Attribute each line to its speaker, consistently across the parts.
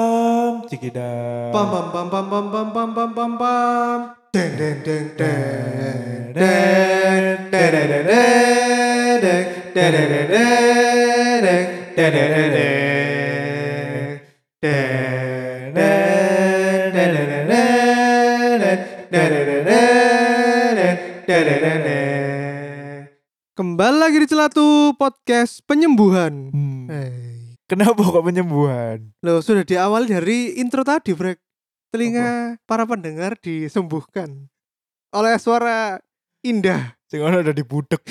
Speaker 1: Pam, cikidang.
Speaker 2: Pam pam pam pam pam pam pam pam pam pam. Deng deng deng deng deng deng deng deng deng deng deng deng deng deng deng deng deng. Deng, deng, deng, deng, deng, deng, deng, deng, deng, deng, deng, deng, deng, deng. Kembali lagi di Celatu Podcast Penyembuhan.
Speaker 1: Hmm.
Speaker 2: Hey.
Speaker 1: Kenapa kok penyembuhan?
Speaker 2: Loh, sudah di awal dari intro tadi, Brek. Telinga para pendengar disembuhkan oleh suara indah.
Speaker 1: Sing ono udah dibudek.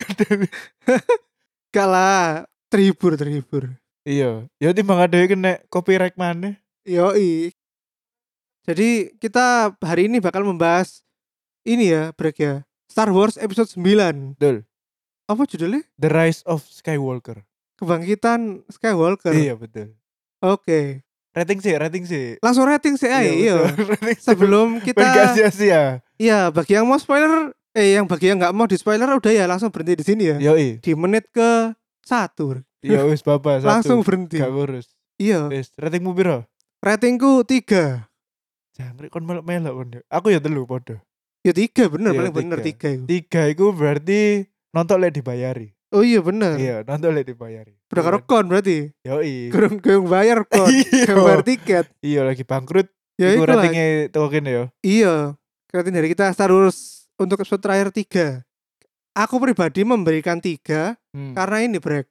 Speaker 2: Gak lah, terhibur, terhibur.
Speaker 1: iya. Ya timbang ada yang kena copyright mana?
Speaker 2: Yoi. Jadi kita hari ini bakal membahas ini ya, Brek ya. Star Wars episode 9.
Speaker 1: Betul.
Speaker 2: Apa judulnya?
Speaker 1: The Rise of Skywalker.
Speaker 2: Kebangkitan Skywalker.
Speaker 1: Iya betul.
Speaker 2: Oke.
Speaker 1: Rating sih, rating sih.
Speaker 2: Langsung rating sih, ay, iya.
Speaker 1: betul. rating sih.
Speaker 2: Sebelum
Speaker 1: Ben gak
Speaker 2: kita
Speaker 1: sia-sia.
Speaker 2: Iya, bagi yang mau spoiler, eh yang bagi yang nggak mau di spoiler udah ya langsung berhenti di sini ya.
Speaker 1: Yoi.
Speaker 2: Di menit ke satu,
Speaker 1: Ya wis bapak satu.
Speaker 2: langsung berhenti.
Speaker 1: gak ngurus.
Speaker 2: Iya,
Speaker 1: Wis, ratingmu piro?
Speaker 2: ratingku tiga.
Speaker 1: Jangkrik kon melok-melok kon. yo. Aku ya telu podo.
Speaker 2: Ya tiga bener,
Speaker 1: Iya,
Speaker 2: paling bener
Speaker 1: tiga.
Speaker 2: tiga. itu.
Speaker 1: Tiga iku berarti nonton lek dibayari.
Speaker 2: Oh iya bener.
Speaker 1: Iya, nonton lek dibayari.
Speaker 2: Udah karo kon berarti.
Speaker 1: Yoi.
Speaker 2: Kurang kurang bayar kon. Gambar
Speaker 1: Iya.
Speaker 2: tiket.
Speaker 1: Iya lagi bangkrut.
Speaker 2: Ya
Speaker 1: Iku
Speaker 2: itu lah.
Speaker 1: ratingnya toko kene ya.
Speaker 2: Iya. Rating dari kita Star Wars untuk episode terakhir tiga. Aku pribadi memberikan tiga
Speaker 1: Hmm.
Speaker 2: karena ini break.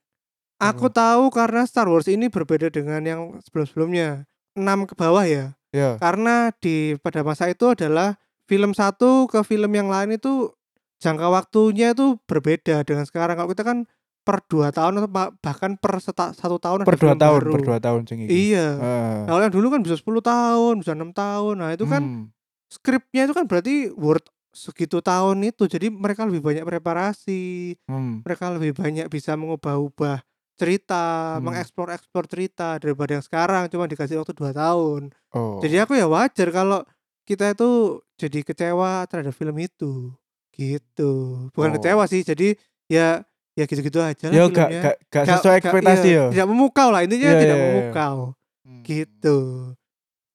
Speaker 2: Aku
Speaker 1: Apa?
Speaker 2: tahu karena Star Wars ini berbeda dengan yang sebelum-sebelumnya. 6 ke bawah ya.
Speaker 1: Ya.
Speaker 2: Karena di pada masa itu adalah film satu ke film yang lain itu jangka waktunya itu berbeda dengan sekarang. Kalau kita kan per 2 tahun atau ba- bahkan per seta- satu tahun ada
Speaker 1: per dua
Speaker 2: film
Speaker 1: tahun,
Speaker 2: baru.
Speaker 1: per dua tahun sing iki.
Speaker 2: Iya.
Speaker 1: Heeh.
Speaker 2: Nah, kalau yang dulu kan bisa 10 tahun, bisa 6 tahun. Nah, itu kan
Speaker 1: Hmm.
Speaker 2: skripnya itu kan berarti worth segitu tahun itu. Jadi mereka lebih banyak preparasi
Speaker 1: Hmm.
Speaker 2: mereka lebih banyak bisa mengubah-ubah cerita,
Speaker 1: Hmm.
Speaker 2: mengeksplor-eksplor cerita daripada yang sekarang cuma dikasih waktu 2 tahun.
Speaker 1: Oh.
Speaker 2: Jadi aku ya wajar kalau kita itu jadi kecewa terhadap film itu. Gitu. Bukan
Speaker 1: Oh.
Speaker 2: kecewa sih, jadi ya ya gitu-gitu aja lah
Speaker 1: ya gak,
Speaker 2: filmnya.
Speaker 1: gak, gak
Speaker 2: Gak-
Speaker 1: sesuai
Speaker 2: gak-
Speaker 1: ekspektasi
Speaker 2: iya,
Speaker 1: ya.
Speaker 2: Tidak memukau lah, intinya
Speaker 1: Iya,
Speaker 2: tidak
Speaker 1: iya, iya.
Speaker 2: memukau.
Speaker 1: Hmm.
Speaker 2: Gitu.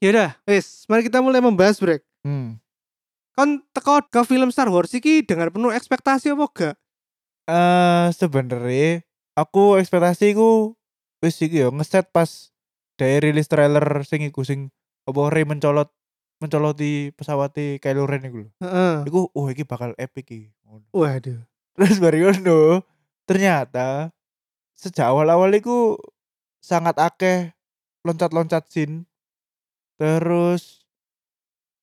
Speaker 2: Ya udah, wis, mari kita mulai membahas break.
Speaker 1: Hmm.
Speaker 2: Kon teko ke film Star Wars iki dengan penuh ekspektasi apa gak?
Speaker 1: Eh, sebenarnya aku ekspektasiku wis iki ya ngeset pas dari rilis trailer sing iku sing apa Rey mencolot mencoloti pesawate Kylo Ren iku lho.
Speaker 2: Heeh.
Speaker 1: Iku oh iki bakal epic iki. Ngono.
Speaker 2: Waduh.
Speaker 1: Terus Bariono ternyata sejak awal-awal itu sangat akeh loncat-loncat scene. Terus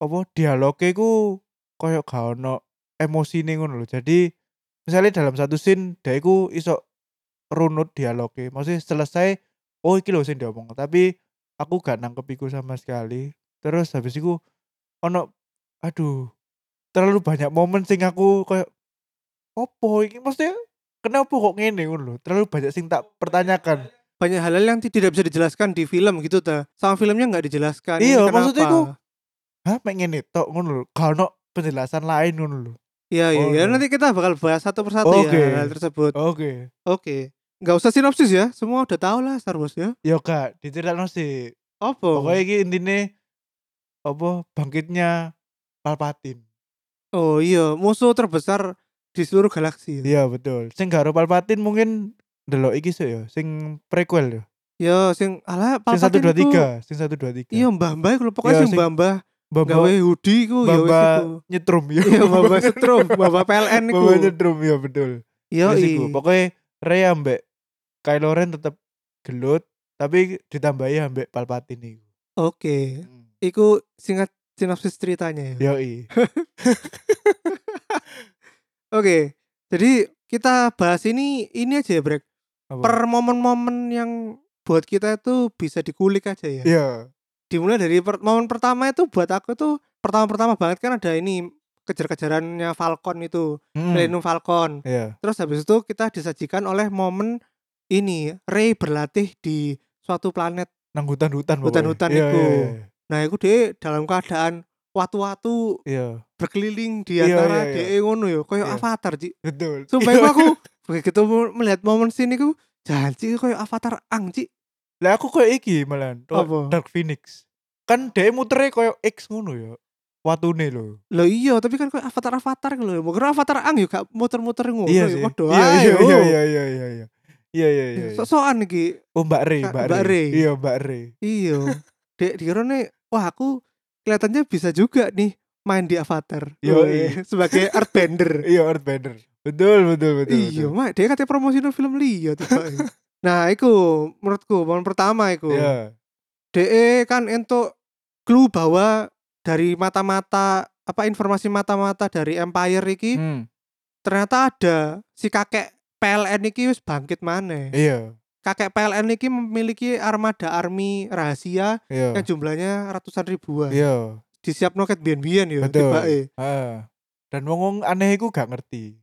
Speaker 1: apa dialognya iku koyo gak ono emosine ngono lho. Jadi misalnya dalam satu scene dia iku iso runut dialognya. Maksudnya selesai oh iki lho sing diomong. Tapi aku gak nangkep iku sama sekali. Terus habis iku ono aduh terlalu banyak momen sing aku koyo opo iki maksudnya kenapa kok ngene ngono lho terlalu banyak sing tak pertanyakan
Speaker 2: banyak hal-hal yang ti- tidak bisa dijelaskan di film gitu ta sama filmnya nggak dijelaskan ini
Speaker 1: Iya,
Speaker 2: kenapa?
Speaker 1: maksudnya itu- hah mek ngene tok ngono lho gak ono penjelasan lain ngono lho
Speaker 2: iya iya
Speaker 1: Oh, iya.
Speaker 2: iya.
Speaker 1: Oh,
Speaker 2: nanti kita bakal bahas satu persatu
Speaker 1: Oke.
Speaker 2: ya hal tersebut oke
Speaker 1: oke
Speaker 2: nggak usah sinopsis ya semua udah tahu lah Star Wars ya
Speaker 1: yo gak diceritakno sih
Speaker 2: opo
Speaker 1: pokoknya iki intine apa bangkitnya Palpatine
Speaker 2: oh iya musuh terbesar di seluruh galaksi ya
Speaker 1: iya betul sing gak ro Palpatine mungkin delok iki sih ya sing prequel ya
Speaker 2: ya sing ala
Speaker 1: sing
Speaker 2: Palpatine iku-
Speaker 1: 123 sing 123
Speaker 2: iya mbah mbah kalau pokoknya
Speaker 1: Iya,
Speaker 2: sing
Speaker 1: sing-
Speaker 2: mbah mbah
Speaker 1: Mbak- mbak-
Speaker 2: gawe hoodie ku ya wes
Speaker 1: Mbah-
Speaker 2: iku.
Speaker 1: nyetrum ya
Speaker 2: iya mbah mbah setrum mbah mbah PLN ku
Speaker 1: Mbak nyetrum ya betul
Speaker 2: iya
Speaker 1: Wes iku, pokoknya Rey ambek Kylo Ren tetep gelut tapi ditambahi ambek Palpatine iku.
Speaker 2: oke iku singkat sinopsis ceritanya ya
Speaker 1: Yoi.
Speaker 2: Oke, jadi kita bahas ini ini aja ya, Brek.
Speaker 1: Apa?
Speaker 2: Per momen-momen yang buat kita itu bisa dikulik aja ya.
Speaker 1: Iya.
Speaker 2: Dimulai dari per- momen pertama itu buat aku tuh pertama-pertama banget kan ada ini kejar-kejarannya Falcon itu,
Speaker 1: Mm.
Speaker 2: Millennium Falcon.
Speaker 1: Iya.
Speaker 2: Terus habis itu kita disajikan oleh momen ini Rey berlatih di suatu planet.
Speaker 1: Nang hutan-hutan pokoknya.
Speaker 2: Hutan-hutan
Speaker 1: Iya,
Speaker 2: iku.
Speaker 1: Iya.
Speaker 2: Nah, itu dia dalam keadaan watu-watu
Speaker 1: iya. Iya.
Speaker 2: berkeliling di
Speaker 1: Iya, iya,
Speaker 2: antara
Speaker 1: iya.
Speaker 2: DE ngono ya, koyo
Speaker 1: Iya.
Speaker 2: avatar, Ci.
Speaker 1: Betul.
Speaker 2: Sumpah
Speaker 1: Iya.
Speaker 2: iku aku begitu melihat momen sini ku janji koyo avatar ang Ci.
Speaker 1: Lah aku koyo iki malan.
Speaker 2: Apa?
Speaker 1: Dark Phoenix. Kan dia muternya koyo X ngono ya. Watune lho.
Speaker 2: Lo iya, tapi kan kayak avatar-avatar lho. Mungkin avatar ang yo gak muter-muter ngono.
Speaker 1: Iya
Speaker 2: ya.
Speaker 1: sih.
Speaker 2: Waduh,
Speaker 1: Iya iya
Speaker 2: ayo.
Speaker 1: iya iya iya iya iya. Iya iya iya. iya.
Speaker 2: Sok-sokan iki.
Speaker 1: Oh Mbak Re,
Speaker 2: Kak-
Speaker 1: Mbak
Speaker 2: Mbak
Speaker 1: Re.
Speaker 2: Re.
Speaker 1: Iya Mbak Re.
Speaker 2: Iya. Dek dikirone wah aku kelihatannya bisa juga nih main di avatar.
Speaker 1: Yo,
Speaker 2: Wih, sebagai artbender.
Speaker 1: Iya Earthbender. Betul betul betul.
Speaker 2: iya,
Speaker 1: betul.
Speaker 2: mak, dia katanya promosino film liya tiba. nah, iku menurutku momen pertama iku.
Speaker 1: Iya.
Speaker 2: DE kan entuk clue bahwa dari mata-mata apa informasi mata-mata dari Empire iki
Speaker 1: Hmm.
Speaker 2: ternyata ada si kakek PLN iki wis bangkit maneh.
Speaker 1: Iya.
Speaker 2: Kakek PLN iki memiliki armada army rahasia
Speaker 1: Iya.
Speaker 2: yang jumlahnya ratusan ribuan.
Speaker 1: Iya.
Speaker 2: Disiap noket bian-bian ya
Speaker 1: Betul.
Speaker 2: tibake.
Speaker 1: Ah. Dan wong-wong aneh iku gak ngerti.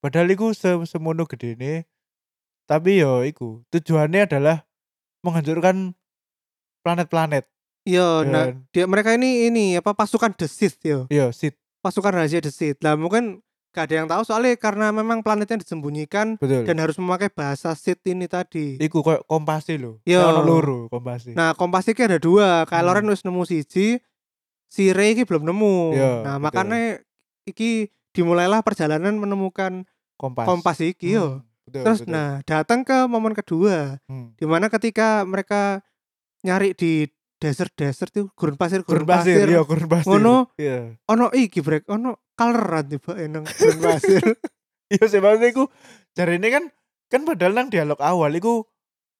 Speaker 1: Padahal iku se semono gedene tapi yo iku tujuannya adalah menghancurkan planet-planet.
Speaker 2: Iya,
Speaker 1: ya
Speaker 2: nah
Speaker 1: kan?
Speaker 2: dia mereka ini ini apa pasukan The Sith yo.
Speaker 1: Iya, Sith.
Speaker 2: Pasukan rahasia The Sith. Lah mungkin gak ada yang tahu soalnya karena memang planetnya disembunyikan
Speaker 1: Betul. Iya.
Speaker 2: dan harus memakai bahasa Sith ini tadi.
Speaker 1: iku koyo kompasi lho.
Speaker 2: Iya.
Speaker 1: Ono loro e, kompasi.
Speaker 2: Nah, kompas iki ada dua. Kylo
Speaker 1: Hmm.
Speaker 2: Ren wis nemu siji, si Rey iki belum nemu.
Speaker 1: Iya,
Speaker 2: nah,
Speaker 1: betul.
Speaker 2: makanya iki dimulailah perjalanan menemukan
Speaker 1: kompas.
Speaker 2: kompas iki yo.
Speaker 1: Hmm, betul,
Speaker 2: Terus
Speaker 1: betul.
Speaker 2: nah, datang ke momen kedua
Speaker 1: Hmm.
Speaker 2: di mana ketika mereka nyari di desert-desert itu gurun pasir
Speaker 1: Gurun
Speaker 2: gurun
Speaker 1: pasir,
Speaker 2: pasir.
Speaker 1: iya gurun pasir.
Speaker 2: Ngono.
Speaker 1: Iya.
Speaker 2: Ono iki brek, ono kaleran tiba eneng gurun pasir.
Speaker 1: Iya sih maksudnya iku jarine kan kan padahal nang dialog awal iku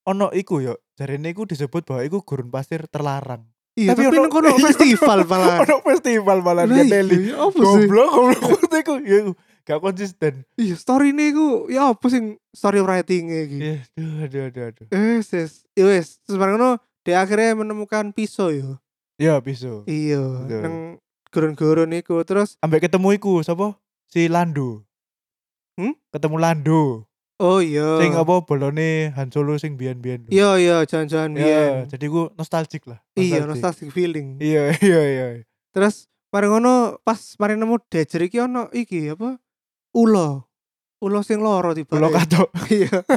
Speaker 1: ono iku yo jarine iku disebut bahwa iku gurun pasir terlarang.
Speaker 2: iya,
Speaker 1: Tapi
Speaker 2: tapi,
Speaker 1: ono-
Speaker 2: nang kono
Speaker 1: iya.
Speaker 2: festival malah.
Speaker 1: ono festival malah
Speaker 2: Lah,
Speaker 1: ngeteli.
Speaker 2: iya, apa sih?
Speaker 1: Goblok goblok maksudnya iku ya iku, gak konsisten.
Speaker 2: Iya, story ini ku ya apa sih story writing-e iki?
Speaker 1: Iya, aduh aduh aduh aduh.
Speaker 2: Eh, sis, iya wes. Terus bareng ngono, dia akhirnya menemukan pisau yo.
Speaker 1: Ya bisa.
Speaker 2: Iya,
Speaker 1: Betul.
Speaker 2: nang gurun-gurun iku. Terus
Speaker 1: Ambek ketemu iku sapa? Si Lando.
Speaker 2: Hmm?
Speaker 1: Ketemu Lando.
Speaker 2: oh iya.
Speaker 1: Sing apa bolone Han Solo sing biyen-biyen. lho.
Speaker 2: Iya, iya,
Speaker 1: Iya,
Speaker 2: jangan-jangan biyen.
Speaker 1: jadi ku nostalgic lah.
Speaker 2: Iya, nostalgic feeling.
Speaker 1: Iya, iya, iya.
Speaker 2: Terus bareng ngono pas mari nemu Dajer iki ono iki apa? Ulo. Ulo sing loro tiba.
Speaker 1: Kulo katok.
Speaker 2: Iya.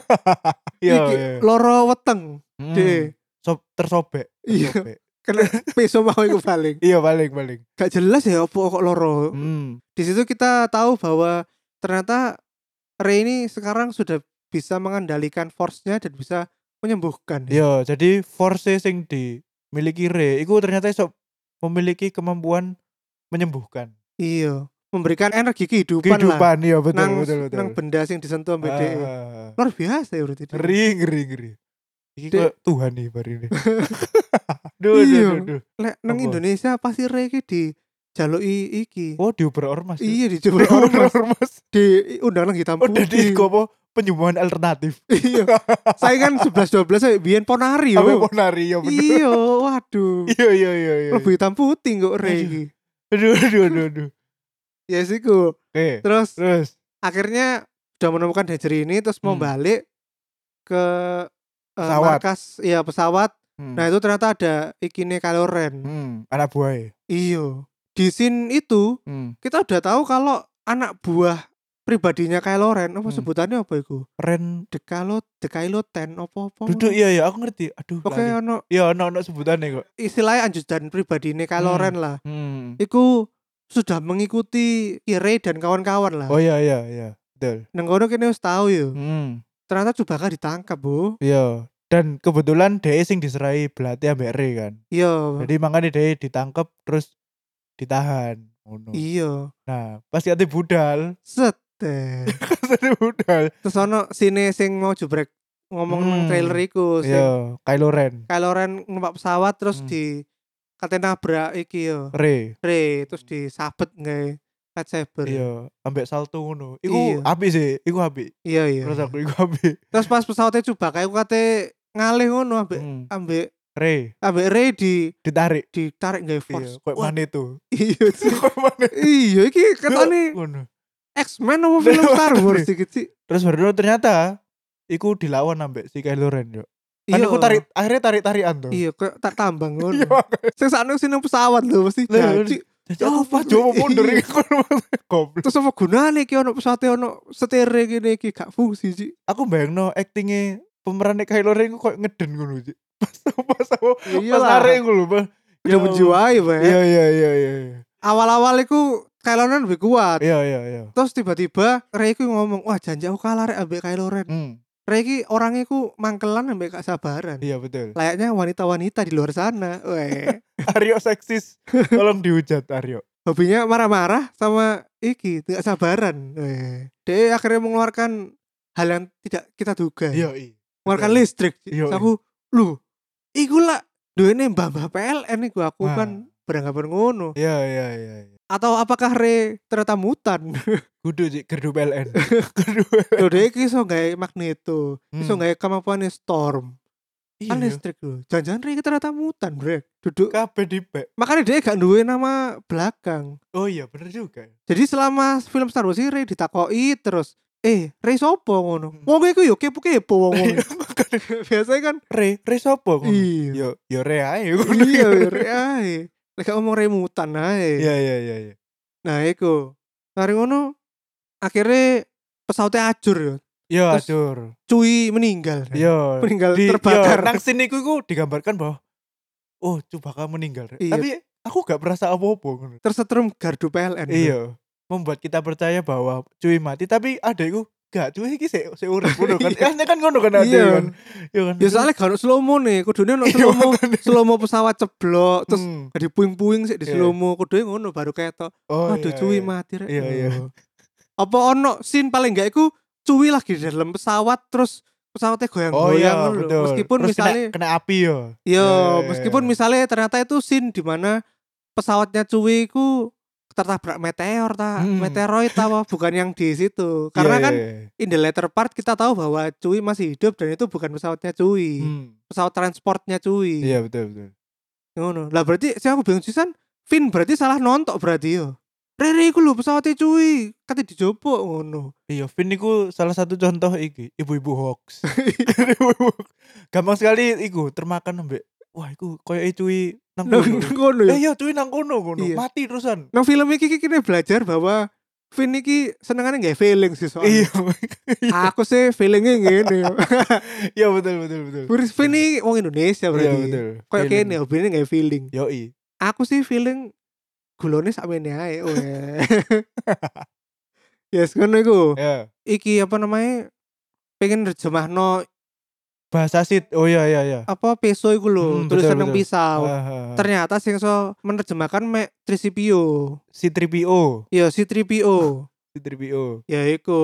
Speaker 1: Iya,
Speaker 2: Iki
Speaker 1: iya.
Speaker 2: loro weteng.
Speaker 1: Hmm.
Speaker 2: Dek.
Speaker 1: Sob- tersobek.
Speaker 2: Iya.
Speaker 1: tersobek.
Speaker 2: Kena pisau mau iku paling.
Speaker 1: Iya, paling paling.
Speaker 2: Gak jelas ya opo kok loro.
Speaker 1: Hmm.
Speaker 2: di situ kita tahu bahwa ternyata Rey ini sekarang sudah bisa mengendalikan force-nya dan bisa menyembuhkan. ya.
Speaker 1: Iya, jadi force sing dimiliki Re iku ternyata iso memiliki kemampuan menyembuhkan.
Speaker 2: Iya, memberikan energi kehidupan, lah.
Speaker 1: Kehidupan, iya betul
Speaker 2: nang,
Speaker 1: betul betul.
Speaker 2: nang benda sing disentuh sama
Speaker 1: Ah,
Speaker 2: DE. Luar biasa ya berarti. DE.
Speaker 1: ngeri ngeri ngeri. Iki
Speaker 2: Dek.
Speaker 1: kok Tuhan nih bar ini. Duh, duh,
Speaker 2: Iya.
Speaker 1: duh, duh.
Speaker 2: Lek nang
Speaker 1: Apa?
Speaker 2: Indonesia pasti Rey iki di iki.
Speaker 1: Oh, dioper ormas. ya?
Speaker 2: iya dicoba
Speaker 1: Dioper
Speaker 2: orang
Speaker 1: ormas.
Speaker 2: di undang nang hitam
Speaker 1: Oh, jadi
Speaker 2: putih.
Speaker 1: iku apa? Penyembuhan alternatif.
Speaker 2: iya. Saya kan 11 12 saya biyen ponari
Speaker 1: Sampai
Speaker 2: yo.
Speaker 1: ponari ya bener.
Speaker 2: Iya, waduh.
Speaker 1: Iya iya iya iya.
Speaker 2: Lebih hitam putih kok Rey
Speaker 1: Aduh.
Speaker 2: iki.
Speaker 1: Aduh aduh aduh aduh.
Speaker 2: Ya siku.
Speaker 1: Oke.
Speaker 2: Terus
Speaker 1: Terus
Speaker 2: akhirnya sudah menemukan Danger ini terus mau
Speaker 1: Hmm.
Speaker 2: balik ke eh,
Speaker 1: Pesawat.
Speaker 2: markas ya pesawat.
Speaker 1: hmm.
Speaker 2: Nah, itu ternyata ada ikine Kylo Ren.
Speaker 1: Hmm, anak buah. ya?
Speaker 2: Iyo. Iya. Di scene itu
Speaker 1: Hmm.
Speaker 2: kita udah tahu kalau anak buah pribadinya Kylo Ren apa
Speaker 1: Hmm.
Speaker 2: sebutannya apa itu?
Speaker 1: Ren
Speaker 2: The Kylo The Kylo Ten apa apa?
Speaker 1: duduk iya ya aku ngerti. Aduh.
Speaker 2: Oh. Oke,
Speaker 1: lali.
Speaker 2: ono
Speaker 1: Iya ono ono sebutannya kok.
Speaker 2: istilahnya anjudan pribadinya Kylo
Speaker 1: Hmm.
Speaker 2: Ren lah.
Speaker 1: Hmm.
Speaker 2: Iku sudah mengikuti Kirei dan kawan-kawan lah.
Speaker 1: Oh iya iya iya. Betul.
Speaker 2: Nang kono kene wis tahu yo.
Speaker 1: Hmm.
Speaker 2: Ternyata Chewbacca ditangkap, Bu.
Speaker 1: Iya. Dan kebetulan DE sing diserai belati ambek Re kan.
Speaker 2: Iya.
Speaker 1: Jadi makanya DE ditangkep terus ditahan. Ngono.
Speaker 2: Iya.
Speaker 1: Nah, pas kate budal,
Speaker 2: Set. eh.
Speaker 1: kate budal.
Speaker 2: Terus ono sini sing mau jubrek ngomong nang
Speaker 1: Hmm.
Speaker 2: trailer iku sing
Speaker 1: Iya, Kylo Ren.
Speaker 2: Kylo Ren numpak pesawat terus
Speaker 1: Hmm.
Speaker 2: di katanya nabrak iki yo.
Speaker 1: Re.
Speaker 2: Re terus disabet nggak lightsaber.
Speaker 1: Iya, ambek salto ngono.
Speaker 2: Iya.
Speaker 1: Iku api sih, iku api.
Speaker 2: Iya iya.
Speaker 1: Terus aku iku api.
Speaker 2: Terus pas pesawatnya coba kayak aku kate ngalih ngono ambek
Speaker 1: Hmm.
Speaker 2: ambek
Speaker 1: Re,
Speaker 2: ambek Re di
Speaker 1: ditarik.
Speaker 2: ditarik nggak
Speaker 1: Iya,
Speaker 2: force.
Speaker 1: koyo
Speaker 2: Wah,
Speaker 1: mana itu?
Speaker 2: Iya sih.
Speaker 1: Koyo mana?
Speaker 2: Iya iki katane
Speaker 1: Ngono.
Speaker 2: X-Men apa film Star Wars iki sih.
Speaker 1: Terus baru ternyata iku dilawan ambek si Kylo Ren yo. Kan
Speaker 2: Iya.
Speaker 1: iku tarik akhirnya tarik-tarikan tuh.
Speaker 2: Iya, kayak tak tambang ngono.
Speaker 1: Iya, makanya.
Speaker 2: Sing sakno sing nang pesawat lho mesti
Speaker 1: Lah, iya.
Speaker 2: janji.
Speaker 1: Jadi
Speaker 2: Oh,
Speaker 1: apa
Speaker 2: iya.
Speaker 1: coba mundur iki Kono maksudnya. Goblok.
Speaker 2: Terus apa gunane iki ono pesawate ono setere kene iki gak fungsi sih.
Speaker 1: Aku bayangno aktingnya pemerannya Kylo Ren iku koyo ngeden ngono sih. pas aku
Speaker 2: Iya
Speaker 1: pas
Speaker 2: lah.
Speaker 1: narik gue lho Mas. Ya
Speaker 2: Udah
Speaker 1: Allah.
Speaker 2: menjiwai, Pak.
Speaker 1: iya iya iya iya
Speaker 2: Awal-awal iku Kylo Ren lebih kuat.
Speaker 1: iya iya iya
Speaker 2: Terus tiba-tiba Rey iku ngomong, "Wah, janji aku kalah rek ambek Kylo Ren."
Speaker 1: Hmm,
Speaker 2: Rey iki orangnya iku mangkelan ambek gak sabaran.
Speaker 1: iya betul
Speaker 2: Layaknya wanita-wanita di luar sana. Weh.
Speaker 1: Aryo seksis tolong dihujat Aryo
Speaker 2: hobinya marah-marah sama iki tidak sabaran Weh. dia akhirnya mengeluarkan hal yang tidak kita duga
Speaker 1: iya iya
Speaker 2: mengeluarkan
Speaker 1: betul.
Speaker 2: listrik
Speaker 1: Iya,
Speaker 2: Terus aku lu iku lah duwe ini mbah mbah PLN nih gua aku
Speaker 1: Wah.
Speaker 2: kan beranggapan ngono
Speaker 1: iya iya iya iya.
Speaker 2: atau apakah re ternyata mutan
Speaker 1: kudu sih gerdu PLN gerdu
Speaker 2: Loh, dia iki iso gawe magneto iso
Speaker 1: Hmm.
Speaker 2: gawe kemampuan storm
Speaker 1: iya
Speaker 2: kan
Speaker 1: iya.
Speaker 2: listrik loh jangan-jangan re ternyata mutan brek duduk
Speaker 1: kabeh dibek
Speaker 2: makanya dia gak duwe nama belakang
Speaker 1: oh iya bener juga
Speaker 2: Jadi selama film Star Wars ini Rey ditakoi terus eh Rey sopo ngono.
Speaker 1: Hmm. Iya,
Speaker 2: Wong iku yo kepo-kepo wong wong. Biasanya kan
Speaker 1: re re sopo ngono?
Speaker 2: iya.
Speaker 1: yo yo re ae ngono.
Speaker 2: Iya Rey ae. Lek gak ngomong Rey mutan ae.
Speaker 1: iya iya iya iya
Speaker 2: Nah iku. Mari ngono akhirnya pesawatnya ajur yo.
Speaker 1: yo
Speaker 2: Terus-
Speaker 1: acur
Speaker 2: Cuy meninggal.
Speaker 1: yo
Speaker 2: Meninggal
Speaker 1: Iya. di,
Speaker 2: terbakar.
Speaker 1: yo, nang sini ku iku digambarkan bahwa oh coba kamu meninggal Re.
Speaker 2: Iya.
Speaker 1: tapi aku gak merasa apa-apa ngono.
Speaker 2: Tersetrum gardu PLN.
Speaker 1: iya membuat kita percaya bahwa cuy mati tapi ada iku gak cuy iki sik sik urip ngono kan
Speaker 2: Iya.
Speaker 1: kan kan ngono kan ada
Speaker 2: Iya.
Speaker 1: kan yo kan
Speaker 2: Ya soalnya gak slow mo nih, kudune ono
Speaker 1: Iya,
Speaker 2: slow mo, slow mo pesawat ceblok terus
Speaker 1: Hmm.
Speaker 2: di puing-puing sih di
Speaker 1: Iya.
Speaker 2: slow mo, kudune ngono baru ketok.
Speaker 1: oh,
Speaker 2: Aduh
Speaker 1: iya,
Speaker 2: cuy
Speaker 1: iya.
Speaker 2: mati rek.
Speaker 1: Iya, iya.
Speaker 2: Loh. Apa ono scene paling enggak iku cuy lagi di dalam pesawat terus pesawatnya
Speaker 1: Oh iya
Speaker 2: goyang-goyang lho.
Speaker 1: betul.
Speaker 2: Meskipun
Speaker 1: Terus kena-
Speaker 2: misalnya
Speaker 1: kena, api yo.
Speaker 2: yo,
Speaker 1: Iya,
Speaker 2: meskipun
Speaker 1: iya.
Speaker 2: misalnya ternyata itu scene di mana pesawatnya cuy iku tertabrak meteor ta,
Speaker 1: Hmm.
Speaker 2: meteoroid ta apa, bukan yang di situ. Karena
Speaker 1: Iya,
Speaker 2: kan
Speaker 1: iya, iya.
Speaker 2: in the later part kita tahu bahwa cuy masih hidup dan itu bukan pesawatnya cuy.
Speaker 1: Hmm.
Speaker 2: Pesawat transportnya cuy.
Speaker 1: Iya betul betul.
Speaker 2: Ngono. Lah berarti sih aku bingung sisan Vin berarti salah nontok berarti yo. Rere iku lho pesawatnya cuy, kate dijopok ngono.
Speaker 1: Iya, Vin iku salah satu contoh iki, ibu-ibu hoax. Ibu-ibu hoax. Gampang sekali iku termakan ambek wah iku koyo e cuy nang
Speaker 2: Nang
Speaker 1: kono.
Speaker 2: ngono
Speaker 1: Eh
Speaker 2: yo.
Speaker 1: iya cuy nang kono kono,
Speaker 2: Iya.
Speaker 1: mati terusan.
Speaker 2: Nang film iki iki kene belajar bahwa Vin iki senengane nggak feeling sih
Speaker 1: Iya.
Speaker 2: soalnya. Aku sih feelingnya ngene yo.
Speaker 1: Iya betul betul betul.
Speaker 2: Buris Vin iki wong Indonesia
Speaker 1: Iya
Speaker 2: berarti.
Speaker 1: betul.
Speaker 2: Kayak
Speaker 1: Feeling.
Speaker 2: kene hobine nggak feeling.
Speaker 1: Yoi.
Speaker 2: Aku sih feeling gulone sakmene ae. weh. Yes, ngono iku.
Speaker 1: Ya.
Speaker 2: Iki apa namanya? Pengen nerjemahno
Speaker 1: Bahasa sit. Oh iya iya iya.
Speaker 2: apa peso iku lho,
Speaker 1: Hmm,
Speaker 2: tulisan
Speaker 1: betul,
Speaker 2: nang
Speaker 1: betul. Ah,
Speaker 2: pisau.
Speaker 1: ah, ah.
Speaker 2: ternyata sing iso menerjemahkan mek Tricipio
Speaker 1: C3PO.
Speaker 2: ya si Tripio
Speaker 1: C3PO.
Speaker 2: ya iku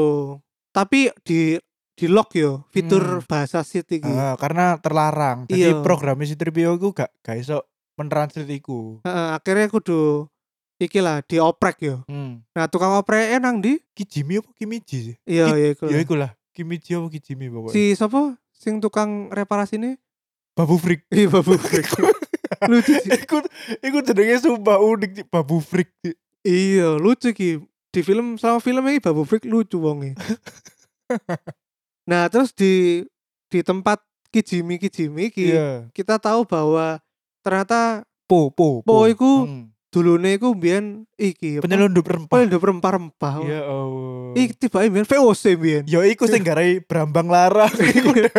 Speaker 2: tapi di di lock yo fitur
Speaker 1: Hmm.
Speaker 2: bahasa Sith iki
Speaker 1: Ah, karena terlarang. Jadi
Speaker 2: Iya.
Speaker 1: programnya C3PO iku gak gak iso mentranslate iku.
Speaker 2: Heeh, akhirnya kudu iki lah dioprek yo
Speaker 1: Hmm.
Speaker 2: nah tukang oprek nang di
Speaker 1: Kijimi apa Kimiji sih?
Speaker 2: iya ya iku
Speaker 1: Ya iku lah. Kimiji apa Kijimi pokoknya.
Speaker 2: si sapa sing tukang reparasi ini
Speaker 1: Babu Freak.
Speaker 2: iya babu Freak. lucu sih
Speaker 1: Iku iku jenenge sumpah unik Cik. Babu Freak. Cik.
Speaker 2: iya lucu ki di film selama film ini babu Freak lucu wonge nah terus di di tempat Kijimi Kijimi ki
Speaker 1: Iya.
Speaker 2: kita tahu bahwa ternyata
Speaker 1: Po po
Speaker 2: Po iku
Speaker 1: Hmm.
Speaker 2: dulune iku mbiyen iki apa?
Speaker 1: penyelundup rempah.
Speaker 2: penyelundup rempah-rempah.
Speaker 1: Ya Allah.
Speaker 2: Iki tiba mbiyen VOC mbiyen.
Speaker 1: Ya iku sing garai Brambang Larang iku dek.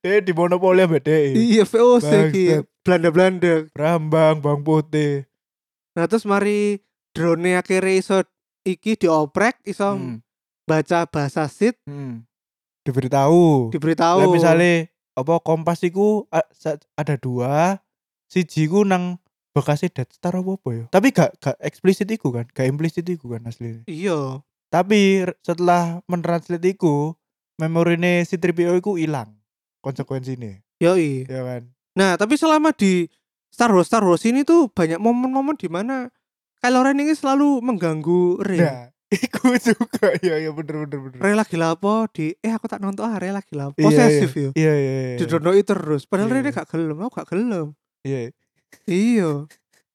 Speaker 1: Dek di monopoli ambek dek.
Speaker 2: Iya VOC iki
Speaker 1: Bangsat.
Speaker 2: Belanda-Belanda.
Speaker 1: Brambang Bang Putih.
Speaker 2: Nah terus mari drone akhirnya iso iki dioprek iso
Speaker 1: Hmm.
Speaker 2: baca bahasa sit
Speaker 1: Hmm. Diberitahu.
Speaker 2: diberitahu.
Speaker 1: Lah misale apa kompas iku a- sa- ada dua siji ku nang bekasnya Death Star apa apa ya. Tapi gak gak eksplisit iku kan, gak implisit iku kan aslinya.
Speaker 2: iya.
Speaker 1: Tapi r- setelah mentranslate iku, memorine si 3PO iku ilang konsekuensinya,
Speaker 2: Yoi.
Speaker 1: ya kan?
Speaker 2: Nah, tapi selama di Star Wars Star Wars ini tuh banyak momen-momen di mana Kylo Ren ini selalu mengganggu Rey.
Speaker 1: Nah, iku juga ya ya bener bener bener.
Speaker 2: Rey lagi lapo di eh aku tak nonton ah Rey lagi lapo.
Speaker 1: Iya, iya.
Speaker 2: Posesif yo.
Speaker 1: Iya iya iya.
Speaker 2: didonoi terus padahal
Speaker 1: Iya.
Speaker 2: Rene gak gelem aku gak gelem
Speaker 1: Iya.
Speaker 2: iya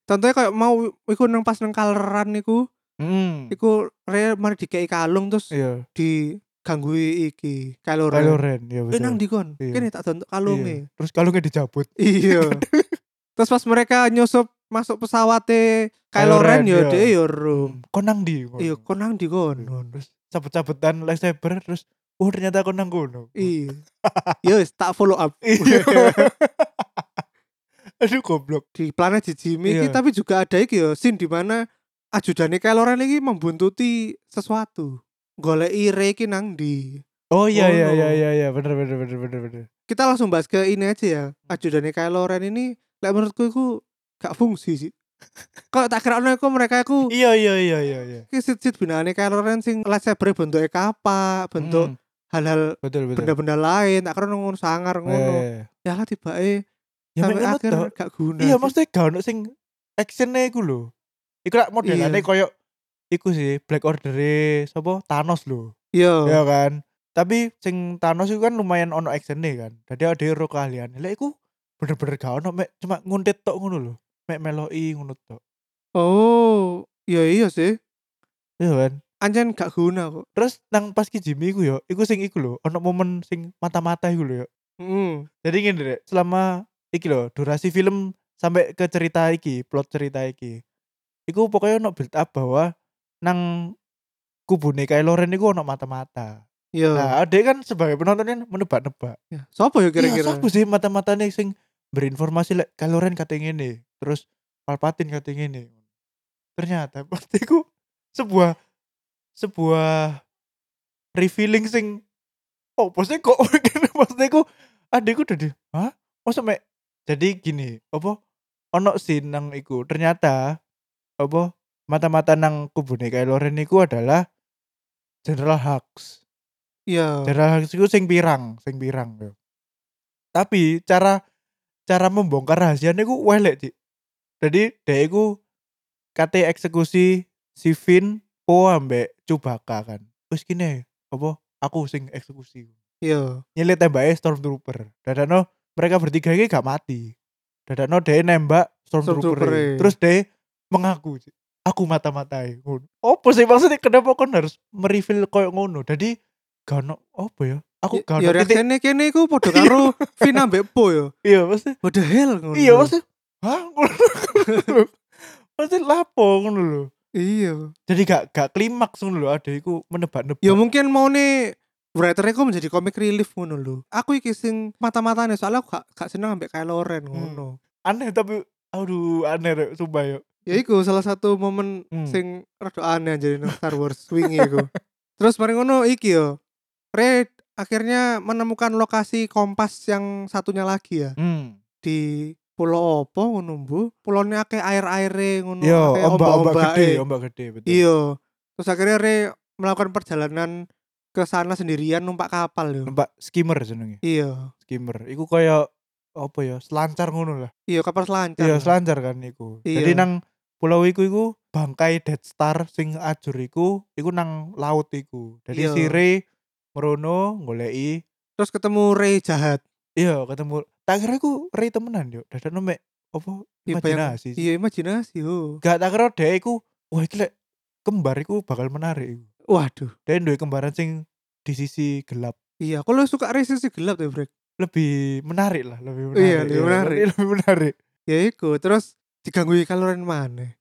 Speaker 2: contohnya kayak mau iku nang pas nang kaleran iku
Speaker 1: Hmm.
Speaker 2: iku Rene mari dikei kalung terus
Speaker 1: Iya.
Speaker 2: diganggui iki Kylo
Speaker 1: Kylo
Speaker 2: Ren
Speaker 1: Ren ya
Speaker 2: Eh,
Speaker 1: betul.
Speaker 2: nang di kon
Speaker 1: Iya.
Speaker 2: kene tak dontok
Speaker 1: Iya.
Speaker 2: kalunge
Speaker 1: Terus kalungnya dicabut.
Speaker 2: iya terus pas mereka nyusup masuk pesawatnya
Speaker 1: Kylo
Speaker 2: Kylo
Speaker 1: Ren,
Speaker 2: Ren yo
Speaker 1: iya.
Speaker 2: dhewe yo rum
Speaker 1: Konang di.
Speaker 2: iya kon nang di kon
Speaker 1: terus cabut-cabutan lightsaber terus oh ternyata aku nang kono
Speaker 2: Iya. Yo wis, tak follow up.
Speaker 1: Iya. aduh goblok
Speaker 2: Di planet Jijimi iki
Speaker 1: Iya.
Speaker 2: tapi juga ada iki yo scene di mana ajudane Kylo Ren iki membuntuti sesuatu. Goleki Rey iki nang ndi.
Speaker 1: oh iya
Speaker 2: Oh,
Speaker 1: iya
Speaker 2: no.
Speaker 1: iya iya iya bener bener bener bener bener
Speaker 2: Kita langsung bahas ke ini aja ya.
Speaker 1: Hmm.
Speaker 2: Ajudane Kylo Ren ini lek menurutku iku gak fungsi sih. Kalau tak kira iku mereka iku
Speaker 1: iya iya iya iya iya
Speaker 2: iki sit-sit binaane Kylo Ren sing lightsaber bentuke kapak, bentuk
Speaker 1: Hmm,
Speaker 2: hal-hal
Speaker 1: betul betul
Speaker 2: benda-benda lain, tak kira ngono sangar ngono.
Speaker 1: Eh.
Speaker 2: Ya lah tibake
Speaker 1: ya
Speaker 2: sampai
Speaker 1: mek ngono
Speaker 2: akhir
Speaker 1: tok.
Speaker 2: gak guna.
Speaker 1: Iya
Speaker 2: sih.
Speaker 1: maksudnya gak ono sing actionnya iku lho. Iku lak modelane
Speaker 2: Iya.
Speaker 1: koyo iku sih Black Order sapa Thanos lho.
Speaker 2: Iya.
Speaker 1: Ya kan. Tapi sing Thanos iku kan lumayan ono actionnya kan. Dadi ada hero keahlian. Lek iku bener-bener gak ono mek cuma nguntit tok ngono lho. Mek meloi ngono tok.
Speaker 2: Oh, iya iya sih.
Speaker 1: Iya kan.
Speaker 2: Anjen gak guna kok.
Speaker 1: Terus nang pas ki Jimmy iku yo, iku sing iku lho, ono momen sing mata-mata iku lho yo.
Speaker 2: Mm.
Speaker 1: Jadi gini deh, selama iki loh durasi film sampai ke cerita iki, plot cerita iki. Iku pokoknya ono build up bahwa nang kubune Kylo Ren iku ono mata-mata.
Speaker 2: Iya.
Speaker 1: Nah, adek kan sebagai penonton kan menebak-nebak.
Speaker 2: Ya, Sopo ya
Speaker 1: Kira-kira
Speaker 2: kira-kira?
Speaker 1: sapa Iya, sih mata-matane sing berinformasi lek Kylo Ren kate ngene, terus Palpatine kate ngene. Ternyata pasti iku sebuah sebuah revealing sing oh maksudnya kok maksudnya aku adekku udah di hah masa mek jadi gini apa ono scene nang iku ternyata apa mata-mata nang kubune Kylo Ren iku adalah General Hux
Speaker 2: Iya.
Speaker 1: Daerah Haks iku sing pirang, sing pirang yo. Tapi cara cara membongkar rahasianya ku welek, Cik. Jadi dia iku kate eksekusi si Vin Po ambek Cubaka kan. Wis kene apa aku sing eksekusi.
Speaker 2: Iya.
Speaker 1: Nyelit tembaknya Stormtrooper. Dadano mereka bertiga ini gak mati. Dadano dia nembak Stormtrooper.
Speaker 2: Stormtrooper-e.
Speaker 1: Terus dia mengaku, Cik. aku mata-matai. Ngono. Apa sih maksudnya kenapa kon harus mereveal koyo ngono? Jadi gak ono apa ya? Aku gak
Speaker 2: Ya
Speaker 1: ono titik.
Speaker 2: reaksine kene iku padha karo Vina mbek Po ya.
Speaker 1: Iya, maksudnya.
Speaker 2: What the hell ngono.
Speaker 1: Iya, maksudnya. Hah? Ngono. maksudnya lapo ngono lho.
Speaker 2: Iya.
Speaker 1: Jadi gak gak klimaks ngono lho, ada iku menebak-nebak.
Speaker 2: Ya mungkin mau nih writer-nya kok menjadi komik relief ngono lho. Aku iki sing mata-matane soalnya aku gak, gak seneng ambek Kylo Ren
Speaker 1: Hmm.
Speaker 2: ngono.
Speaker 1: Aneh tapi aduh aneh rek, sumpah yo.
Speaker 2: Ya iku salah satu momen
Speaker 1: Hmm.
Speaker 2: sing rada aneh jadi nang Star Wars wingi iku. Terus mari ngono iki yo. Red akhirnya menemukan lokasi kompas yang satunya lagi ya
Speaker 1: Hmm.
Speaker 2: di pulau opo ngono mbu. Pulone akeh air-aire ngono,
Speaker 1: Yo,
Speaker 2: akeh
Speaker 1: ombak-ombak
Speaker 2: ombak-ombake.
Speaker 1: gede, ombak gede betul.
Speaker 2: Iya. Terus akhirnya Re melakukan perjalanan ke sana sendirian numpak kapal yo.
Speaker 1: Numpak skimmer jenenge.
Speaker 2: Iya.
Speaker 1: skimmer. Iku kaya apa ya? Selancar ngono lah.
Speaker 2: Iya kapal selancar.
Speaker 1: Iya,
Speaker 2: lah.
Speaker 1: selancar kan iku.
Speaker 2: Iya.
Speaker 1: Jadi nang pulau iku iku bangkai Death Star sing ajur iku iku nang laut iku. Jadi
Speaker 2: Iya.
Speaker 1: si Rey merono goleki
Speaker 2: Terus ketemu Re jahat.
Speaker 1: iya ketemu tak kira iku Rey temenan yo. Dadak mek apa
Speaker 2: Iya, bayang-
Speaker 1: imajinasi.
Speaker 2: Iya imajinasi yo.
Speaker 1: Gak tak kira dhek iku wah iki lek kembar iku bakal menarik iku.
Speaker 2: Waduh.
Speaker 1: Dhek duwe kembaran sing di sisi gelap
Speaker 2: Iya, aku lu suka Re sisi gelap ya, Bre.
Speaker 1: lebih menarik lah lebih menarik
Speaker 2: Iya, lebih
Speaker 1: iya.
Speaker 2: menarik.
Speaker 1: lebih menarik
Speaker 2: ya iku terus digangguin kaloren mana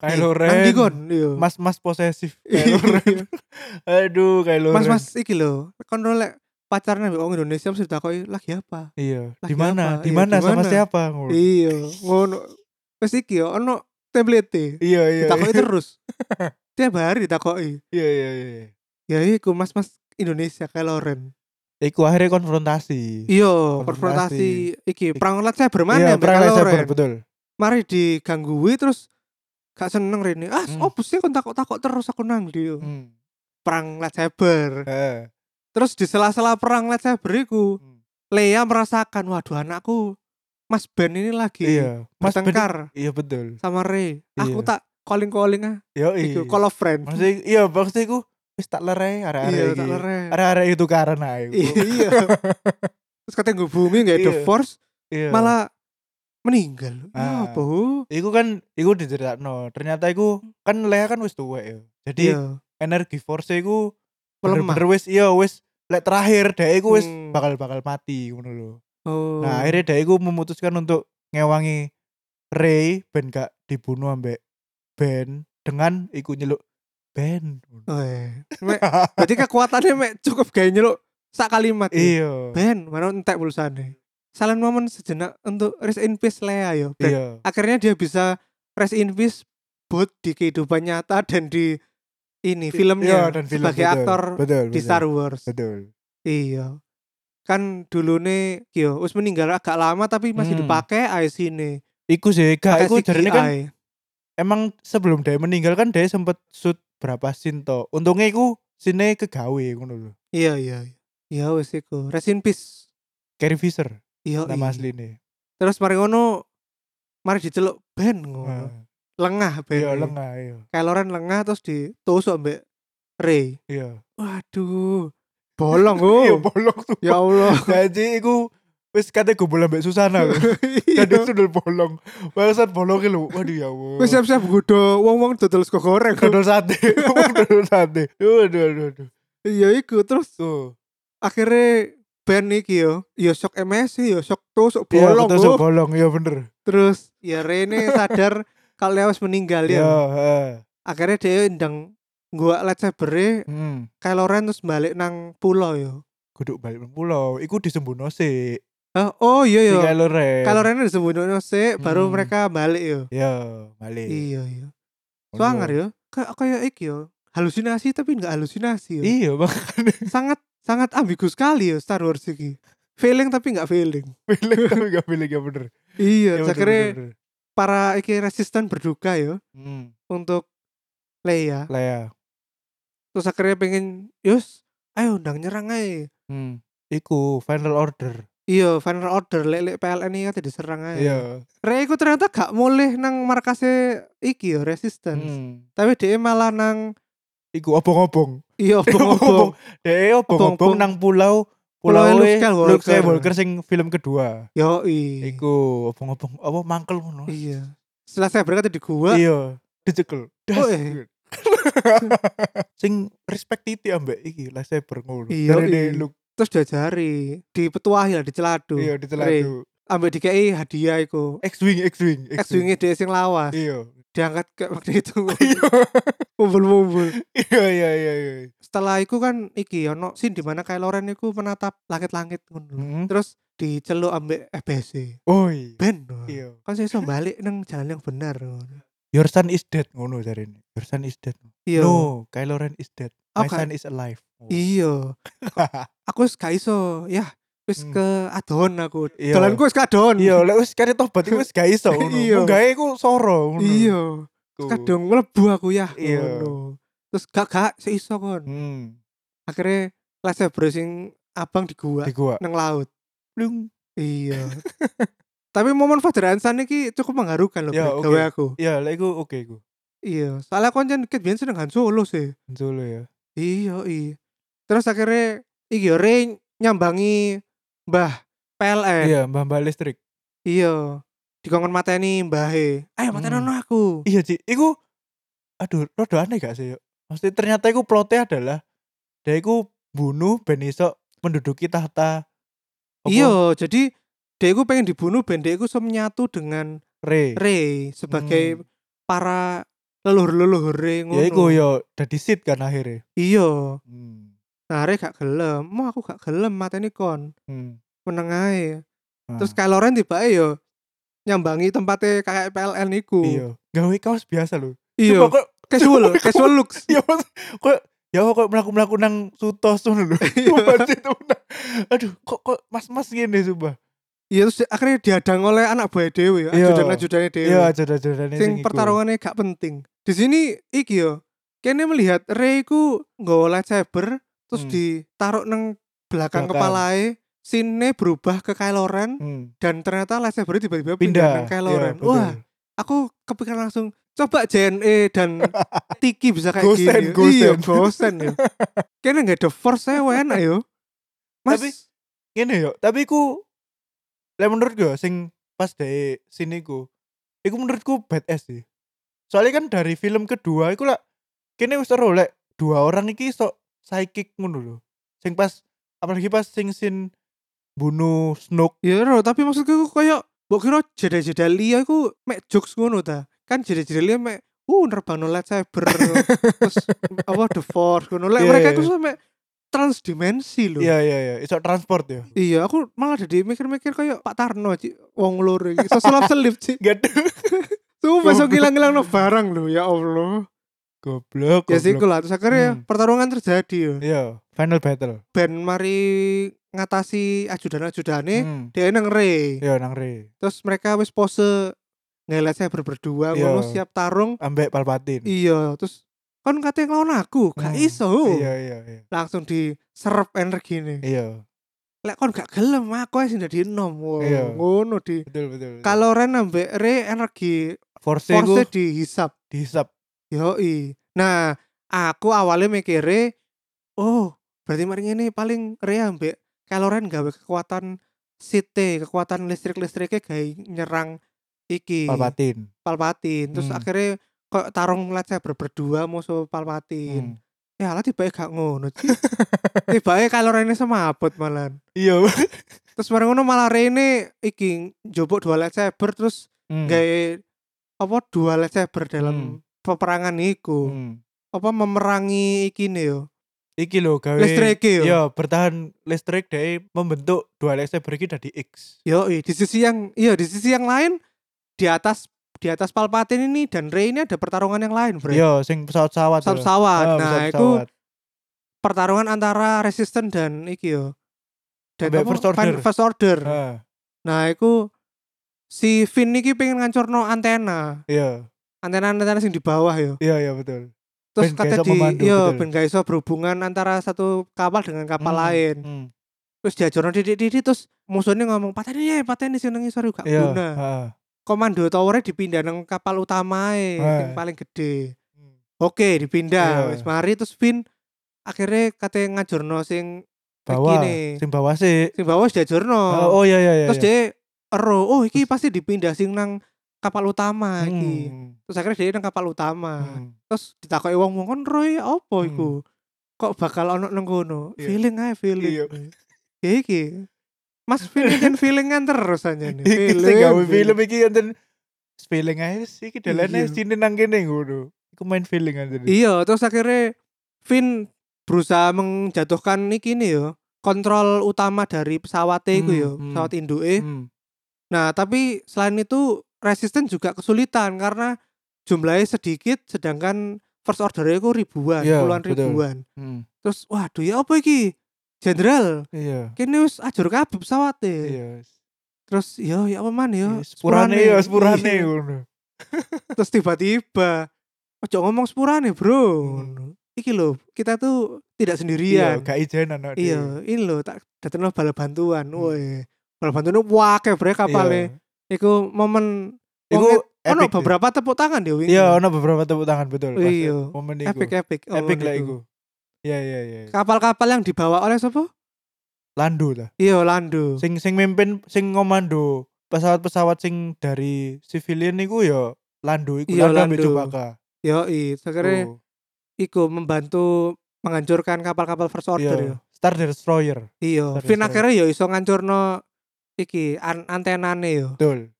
Speaker 1: Kylo
Speaker 2: nang
Speaker 1: Ren
Speaker 2: ndi Eh, kon iya
Speaker 1: mas-mas posesif Kylo Ren. Aduh, Kylo
Speaker 2: mas
Speaker 1: Ren.
Speaker 2: mas iki lho kon lho lek pacarnya ambek wong Indonesia mesti ditakoki lagi apa
Speaker 1: Iya,
Speaker 2: Lah,
Speaker 1: di mana?
Speaker 2: kenapa?
Speaker 1: Di
Speaker 2: Iya,
Speaker 1: mana
Speaker 2: di
Speaker 1: sama
Speaker 2: mana?
Speaker 1: siapa? Ngono.
Speaker 2: iya ngono wis iki yo ono template
Speaker 1: Iya, iya.
Speaker 2: ditakoki terus tiap hari ditakoki
Speaker 1: Iya, iya, iya.
Speaker 2: ya iku mas mas Indonesia Kaloren
Speaker 1: Iku akhirnya konfrontasi.
Speaker 2: iya konfrontasi
Speaker 1: Konfrontasi.
Speaker 2: iki perang saya bermana ambek
Speaker 1: Iya, perang lightsaber,
Speaker 2: Kaloren
Speaker 1: betul.
Speaker 2: mari digangguin terus gak seneng Rene ah
Speaker 1: Hmm.
Speaker 2: opo sih kon takok-takok terus aku nang dia
Speaker 1: Hmm.
Speaker 2: perang lightsaber
Speaker 1: Heeh.
Speaker 2: Terus di sela-sela perang lightsaber iku,
Speaker 1: Hmm.
Speaker 2: Leia merasakan, waduh anakku, Mas Ben ini lagi
Speaker 1: Iya. Mas Ben-
Speaker 2: bertengkar
Speaker 1: Iya, betul.
Speaker 2: sama Rey.
Speaker 1: Iya.
Speaker 2: Aku tak calling-calling ah,
Speaker 1: Yo, iya.
Speaker 2: iku call of friend.
Speaker 1: Maksudnya, iya, maksudnya iku wis tak lerai
Speaker 2: Iya,
Speaker 1: arek-arek
Speaker 2: tak
Speaker 1: iki.
Speaker 2: leren.
Speaker 1: Arek-arek itu karena ae.
Speaker 2: Iya. Terus katanya ngubungi nggak The
Speaker 1: Iya.
Speaker 2: Force,
Speaker 1: Iya.
Speaker 2: malah meninggal.
Speaker 1: Ah.
Speaker 2: Ya apa? Hu?
Speaker 1: iku kan iku diceritakno. Ternyata iku kan Leia kan wis tuwek ya. Jadi
Speaker 2: Iya.
Speaker 1: energi force iku
Speaker 2: Melemah.
Speaker 1: bener-bener wis iya wis lek terakhir dhek iku wis
Speaker 2: Hmm.
Speaker 1: bakal-bakal mati ngono lho.
Speaker 2: Oh.
Speaker 1: Nah, akhirnya dia iku memutuskan untuk ngewangi Ray ben gak dibunuh ambek Ben dengan iku nyeluk band.
Speaker 2: Eh,
Speaker 1: iya.
Speaker 2: mek, berarti kekuatannya mek cukup gaya nyeluk sak kalimat. ya?
Speaker 1: Iya.
Speaker 2: Ben, mana entek pulsane. Salan momen sejenak untuk rest in peace Lea yo. Ben,
Speaker 1: Iya.
Speaker 2: akhirnya dia bisa rest in peace both di kehidupan nyata dan di ini filmnya
Speaker 1: Iya, dan film,
Speaker 2: sebagai
Speaker 1: betul.
Speaker 2: aktor
Speaker 1: betul,
Speaker 2: di
Speaker 1: betul,
Speaker 2: Star Wars.
Speaker 1: Betul.
Speaker 2: Iya. Kan dulu nih yo wis meninggal agak lama tapi masih
Speaker 1: Hmm.
Speaker 2: dipakai IC ini.
Speaker 1: Iku sih, gak
Speaker 2: Pakai
Speaker 1: iku jarene kan
Speaker 2: CGI.
Speaker 1: emang sebelum dia meninggal kan dia sempet shoot berapa scene to. Untungnya iku scene kegawe ngono lho.
Speaker 2: Iya, iya. iya. Ya wis iku. Rest in peace.
Speaker 1: Carrie Fisher
Speaker 2: Iya.
Speaker 1: nama
Speaker 2: iya.
Speaker 1: asline.
Speaker 2: Terus mari ngono mari diceluk ben ngono.
Speaker 1: Nah,
Speaker 2: Lengah ben.
Speaker 1: Iya, lengah iya.
Speaker 2: Kyloren lengah terus ditusuk mbek Rey.
Speaker 1: Iya.
Speaker 2: Waduh. Bolong
Speaker 1: Iya,
Speaker 2: oh.
Speaker 1: bolong tuh.
Speaker 2: ya Allah.
Speaker 1: Gaji iku wis kate gombol ambek Susana. kan. Jadi
Speaker 2: Nah, Iya.
Speaker 1: sundul bolong. Bangsat bolongnya lho. Waduh ya Allah.
Speaker 2: Wis siap-siap gudo wong-wong dodol sego goreng.
Speaker 1: dodol sate. Dodol sate. Aduh aduh aduh.
Speaker 2: Iya iku terus
Speaker 1: Tuh.
Speaker 2: akhirnya ben iki yo, yo sok MS yo sok tusuk
Speaker 1: Iya,
Speaker 2: bolong.
Speaker 1: betul,
Speaker 2: oh.
Speaker 1: sok bolong. Iya bener.
Speaker 2: Terus ya Rene sadar kalau dia harus meninggal
Speaker 1: Iya,
Speaker 2: ya.
Speaker 1: heeh.
Speaker 2: Akhirnya dia ndang gua lightsaber
Speaker 1: Hmm.
Speaker 2: Kylo Ren terus balik nang pulau yo.
Speaker 1: Kuduk balik nang pulau. Iku disembunyo sih.
Speaker 2: Eh, oh iya
Speaker 1: Si
Speaker 2: yo.
Speaker 1: Kylo Ren.
Speaker 2: Kalau Ren disembunyikan sih,
Speaker 1: ya.
Speaker 2: baru
Speaker 1: Hmm.
Speaker 2: mereka balik yo.
Speaker 1: Iya, balik.
Speaker 2: Iya ya. iya.
Speaker 1: Ngono.
Speaker 2: Suangar yo. Kayak kayak iki yo. Halusinasi tapi nggak halusinasi yo.
Speaker 1: Iya, bang.
Speaker 2: Sangat sangat ambigu sekali yo Star Wars iki. Feeling tapi nggak feeling.
Speaker 1: Pilih tapi gak pilih ya bener.
Speaker 2: Iya,
Speaker 1: bener,
Speaker 2: akhirnya
Speaker 1: bener, bener.
Speaker 2: para iki resisten berduka yo
Speaker 1: Hmm.
Speaker 2: untuk Leia.
Speaker 1: Lah ya.
Speaker 2: Terus akhirnya pengen yus ayo ndang nyerang aja.
Speaker 1: Hmm. Iku final order.
Speaker 2: Iya, final order lek-lek PLN ini kan diserang aja.
Speaker 1: Iya.
Speaker 2: Rey iku ternyata gak mulih nang markasnya iki yo resistance.
Speaker 1: Hmm.
Speaker 2: Tapi dia malah nang
Speaker 1: Iku obong-obong.
Speaker 2: iya obong-obong.
Speaker 1: Deh
Speaker 2: Obong-obong.
Speaker 1: obong-obong nang pulau ya, pulau
Speaker 2: Pulaunya Luke
Speaker 1: Luke
Speaker 2: Skywalker.
Speaker 1: Skywalker sing film kedua.
Speaker 2: Yoi.
Speaker 1: Iku obong-obong apa mangkel ngono.
Speaker 2: Iya. Setelah saya berangkat di gua,
Speaker 1: Iya, dicekel. Das.
Speaker 2: Oh, eh.
Speaker 1: sing respect titi ambek iki lightsaber ngono.
Speaker 2: Iya,
Speaker 1: Darine
Speaker 2: iya.
Speaker 1: Luke
Speaker 2: terus diajari di petuahi lah, di celadu.
Speaker 1: iya diteladu.
Speaker 2: Ambil di KI hadiah iku.
Speaker 1: X-wing, X-wing,
Speaker 2: X-wingnya dia sing lawas.
Speaker 1: Iya.
Speaker 2: Diangkat ke waktu itu. Mumbul-mumbul.
Speaker 1: Iya, iya, iya, iya.
Speaker 2: Setelah iku kan iki ono scene di mana Kylo Ren iku menatap langit-langit ngono.
Speaker 1: Hmm.
Speaker 2: Terus diceluk ambek FBC.
Speaker 1: Oh iya.
Speaker 2: E. Ben.
Speaker 1: Iya.
Speaker 2: Kan saya iso balik nang jalan yang benar. ngono.
Speaker 1: Your son is dead ngono jarine. Your son is dead.
Speaker 2: Iya.
Speaker 1: No, Kylo Ren is dead. My
Speaker 2: Oke.
Speaker 1: son is alive. Oh.
Speaker 2: Iya. Aku wis gak iso. Ya, wis
Speaker 1: Hmm.
Speaker 2: ke adon aku.
Speaker 1: Iya.
Speaker 2: Jalanku wis ke adon.
Speaker 1: Iya, lek wis kare tobat iku wis gak iso ngono.
Speaker 2: Iya.
Speaker 1: Iya. Gawe iku soro ngono.
Speaker 2: Iya.
Speaker 1: Iku.
Speaker 2: kadung mlebu aku ya
Speaker 1: Iya.
Speaker 2: ngono. terus gak gak seiso kon
Speaker 1: Hmm.
Speaker 2: akhirnya lightsaber sing abang di gua
Speaker 1: Di gua.
Speaker 2: nang laut
Speaker 1: Blung.
Speaker 2: iya tapi momen Father Ansan iki cukup mengharukan loh
Speaker 1: Ya,
Speaker 2: Bro,
Speaker 1: oke.
Speaker 2: gawe aku
Speaker 1: Iya, lek iku oke iku.
Speaker 2: iya soalnya kon jan dikit biyen seneng Han Solo sih
Speaker 1: Solo ya.
Speaker 2: iya iya terus akhirnya iki yo Rey nyambangi Mbah PLN
Speaker 1: Iya, Mbah Mbak Listrik.
Speaker 2: iya dikongkon mateni Mbahe ayo mateni
Speaker 1: Hmm.
Speaker 2: ono aku
Speaker 1: Iya, Ci. Iku aduh, rada aneh gak sih? Maksudnya ternyata iku plotnya adalah dia iku bunuh ben iso menduduki tahta apa?
Speaker 2: iya jadi dia iku pengen dibunuh ben dia iku iso menyatu dengan
Speaker 1: Re.
Speaker 2: Rey sebagai
Speaker 1: Hmm.
Speaker 2: para leluhur-leluhur Rey ngono.
Speaker 1: Ya iku yo dadi Sith kan akhirnya.
Speaker 2: Iya.
Speaker 1: Hmm.
Speaker 2: Nah, Rey gak gelem. Mau aku gak gelem mateni kon.
Speaker 1: Hmm.
Speaker 2: Meneng ae.
Speaker 1: Nah,
Speaker 2: Terus Kylo Ren tibake yo ya nyambangi tempatnya kakek PLN iku.
Speaker 1: iya, gawe kaos biasa lho.
Speaker 2: Iya.
Speaker 1: Cuma kok
Speaker 2: Casual, casual looks.
Speaker 1: ya mas, kok ya kok melaku-melaku nang sutos ngono lho.
Speaker 2: Iya.
Speaker 1: Sumpah, Ci, temenan. Aduh, kok kok mas-mas ngene sumpah.
Speaker 2: Iya terus akhirnya diadang oleh anak buah dewe,
Speaker 1: Iya.
Speaker 2: ajudan-ajudane dewe.
Speaker 1: Iya, jodoh-jodohane
Speaker 2: Sing
Speaker 1: iku.
Speaker 2: pertarungannya gak penting. Di sini iki yo. Kene melihat Rey ku nggawa lightsaber terus
Speaker 1: Hmm.
Speaker 2: ditaruh nang belakang,
Speaker 1: Belakang.
Speaker 2: kepalae. Scene berubah ke Kylo Ren
Speaker 1: Hmm.
Speaker 2: dan ternyata lightsaber tiba-tiba pindah,
Speaker 1: pindah.
Speaker 2: ke Kylo
Speaker 1: Iya,
Speaker 2: Ren.
Speaker 1: betul.
Speaker 2: Wah, aku kepikiran langsung coba JNE dan Tiki bisa kayak
Speaker 1: Gosen,
Speaker 2: gini.
Speaker 1: gosen.
Speaker 2: Iya, gosen ya. Kayaknya nggak ada force saya enak yo. Mas,
Speaker 1: Tapi- ngene yo tapi ku lek menurut gue sing pas dari sini ku iku menurutku badass sih soalnya kan dari film kedua iku lah kene wis seru lek dua orang iki sok psychic ngono lho sing pas apalagi pas sing sin bunuh Snoke
Speaker 2: ya Ro, tapi maksudku aku kayak Mbok kira jeda-jeda lia aku mek jokes ngono ta. Kan jeda-jeda lia mek uh nerbang no lightsaber terus apa the force ngono Lah,
Speaker 1: Iya,
Speaker 2: mereka
Speaker 1: iya.
Speaker 2: itu sampai transdimensi loh
Speaker 1: Iya iya iya, iso transport ya.
Speaker 2: Iya, aku malah jadi mikir-mikir kayak Pak Tarno, Ci. Wong loro iki. Sesulap selip, Ci.
Speaker 1: Gak
Speaker 2: Tuh masuk hilang-hilang no barang lho, ya Allah.
Speaker 1: goblok.
Speaker 2: Ya sih
Speaker 1: goblok.
Speaker 2: lah, terus akhirnya
Speaker 1: Hmm.
Speaker 2: pertarungan terjadi ya.
Speaker 1: Iya, final battle.
Speaker 2: Ben mari ngatasi ajudan-ajudane,
Speaker 1: Hmm.
Speaker 2: dia nang ring.
Speaker 1: Iya nang re.
Speaker 2: Terus mereka wis pose ngelet saya berdua
Speaker 1: Iya.
Speaker 2: ngono siap tarung.
Speaker 1: Ambek Palpatine.
Speaker 2: Iya, terus kan katanya ngelawan aku, gak
Speaker 1: Hmm.
Speaker 2: iso.
Speaker 1: Iya iya iya.
Speaker 2: Langsung diserap energi nih.
Speaker 1: Iya,
Speaker 2: Lek kon gak gelem, aku aja jadi nom. Wah,
Speaker 1: Iya.
Speaker 2: Ngono di
Speaker 1: betul betul. betul.
Speaker 2: kalau Ren ambek Re energi
Speaker 1: force iku
Speaker 2: force dihisap
Speaker 1: dihisap.
Speaker 2: yoi nah aku awalnya mikirnya oh berarti mari ini paling Re ambek kalau Ren gawe kekuatan site kekuatan listrik listriknya gawe nyerang
Speaker 1: Iya.
Speaker 2: iki
Speaker 1: Palpatine.
Speaker 2: Palpatine. terus
Speaker 1: Hmm.
Speaker 2: akhirnya kok tarung lightsaber berdua musuh Palpatine
Speaker 1: Hmm.
Speaker 2: ya lah tiba gak ngono tiba kalau Rene semaput malan
Speaker 1: Iya.
Speaker 2: terus bareng ngono malah Rene iki njobok dua lightsaber terus
Speaker 1: Hmm.
Speaker 2: gaya apa dua lightsaber dalam peperangan iku
Speaker 1: Hmm.
Speaker 2: apa memerangi iki nih yo
Speaker 1: Iki lho gawe
Speaker 2: listrik yo
Speaker 1: Iya, bertahan listrik dari membentuk dua lightsaber iki dari X.
Speaker 2: yo di sisi yang iya di sisi yang lain di atas di atas Palpatine ini dan Rey ini ada pertarungan yang lain bro
Speaker 1: Iya, sing pesawat-pesawat.
Speaker 2: pesawat
Speaker 1: lho. Ah,
Speaker 2: nah
Speaker 1: pesawat-
Speaker 2: itu
Speaker 1: pesawat.
Speaker 2: pertarungan antara resisten dan iki yo dan
Speaker 1: Ambek
Speaker 2: apa,
Speaker 1: First Order.
Speaker 2: Fin- first order.
Speaker 1: Ah,
Speaker 2: nah itu si Finn iki pengen ngancurno antena
Speaker 1: Iya,
Speaker 2: antena antena sing di bawah yo
Speaker 1: iya iya betul.
Speaker 2: terus
Speaker 1: Ben gak
Speaker 2: kata
Speaker 1: iso
Speaker 2: di
Speaker 1: memandu,
Speaker 2: yo
Speaker 1: betul.
Speaker 2: ben gak iso berhubungan antara satu kapal dengan kapal
Speaker 1: Hmm,
Speaker 2: lain
Speaker 1: hmm.
Speaker 2: terus diajarno didik-didik terus musuhnya ngomong pateni ya pateni sing nang ngisor iku gak
Speaker 1: Iya.
Speaker 2: guna
Speaker 1: ah.
Speaker 2: komando towernya dipindah nang kapal utama
Speaker 1: Ah.
Speaker 2: yang paling gede
Speaker 1: Hmm.
Speaker 2: oke
Speaker 1: Iya.
Speaker 2: dipindah wis mari terus Vin akhirnya kate ngajurno sing
Speaker 1: Bawah,
Speaker 2: Iki nih.
Speaker 1: sing bawah sih.
Speaker 2: sing bawah wis diajurno
Speaker 1: Oh, oh iya iya iya.
Speaker 2: terus
Speaker 1: iya.
Speaker 2: dia ero oh iki pasti dipindah sing nang kapal utama iki
Speaker 1: Hmm,
Speaker 2: terus akhirnya dia nang kapal utama
Speaker 1: hmm.
Speaker 2: terus ditakoki wong-wong kon Roy apa iku kok bakal ono nang kono
Speaker 1: Iya.
Speaker 2: feeling ae feeling
Speaker 1: Iya.
Speaker 2: ya iki Mas feeling dan feelingan terus aja nih
Speaker 1: Iki sing gawe film iki enten feeling ae wis, iki dalane
Speaker 2: Iya.
Speaker 1: sini nang kene ngono. Iku main feeling anjen.
Speaker 2: Iya, terus akhirnya Finn berusaha menjatuhkan iki nih yo kontrol utama dari pesawatnya itu
Speaker 1: Hmm,
Speaker 2: yo
Speaker 1: hmm.
Speaker 2: pesawat Indoe.
Speaker 1: Hmm.
Speaker 2: Nah, tapi selain itu resisten juga kesulitan karena jumlahnya sedikit, sedangkan first ordernya itu ribuan,
Speaker 1: Iya,
Speaker 2: puluhan
Speaker 1: betul.
Speaker 2: ribuan.
Speaker 1: Hmm.
Speaker 2: Terus, waduh ya apa iki? Jenderal,
Speaker 1: Iya.
Speaker 2: kini wis ajur kabeh pesawatnya.
Speaker 1: Iya.
Speaker 2: Terus, yo ya apa man yo?
Speaker 1: Iya, Sepurane ya sepurane
Speaker 2: Iya.
Speaker 1: ngono.
Speaker 2: terus tiba-tiba ojo ngomong sepurane bro
Speaker 1: Hmm.
Speaker 2: iki loh kita tuh tidak
Speaker 1: Iya,
Speaker 2: sendirian
Speaker 1: gak ijenan no,
Speaker 2: iya
Speaker 1: dhewe.
Speaker 2: ini loh tak datang bala bantuan
Speaker 1: Hmm.
Speaker 2: woi bala bantuan itu wake bre kapalnya iku momen
Speaker 1: Iya. Iku
Speaker 2: Wong- e- ono
Speaker 1: epic,
Speaker 2: beberapa tepuk tangan dia
Speaker 1: deh. Iya, ono beberapa tepuk tangan betul. pas
Speaker 2: Iya.
Speaker 1: Momen iku.
Speaker 2: epic epic oh,
Speaker 1: Epic lah
Speaker 2: niku.
Speaker 1: iku. Iya, iya, iya.
Speaker 2: kapal-kapal yang dibawa oleh siapa
Speaker 1: Lando lah.
Speaker 2: iya Lando
Speaker 1: Sing sing mimpin sing komando pesawat-pesawat sing dari civilian niku ya Lando iku
Speaker 2: Iya,
Speaker 1: Lando ambek
Speaker 2: Lando.
Speaker 1: Chewbacca. Oh,
Speaker 2: yo sekarang
Speaker 1: Tuh.
Speaker 2: iku membantu menghancurkan kapal-kapal first order ya.
Speaker 1: Iya.
Speaker 2: yo
Speaker 1: Star Destroyer.
Speaker 2: iya
Speaker 1: Sorry,
Speaker 2: fin
Speaker 1: sorry.
Speaker 2: akhirnya yo iso ngancurno iki an antenane yo
Speaker 1: Betul.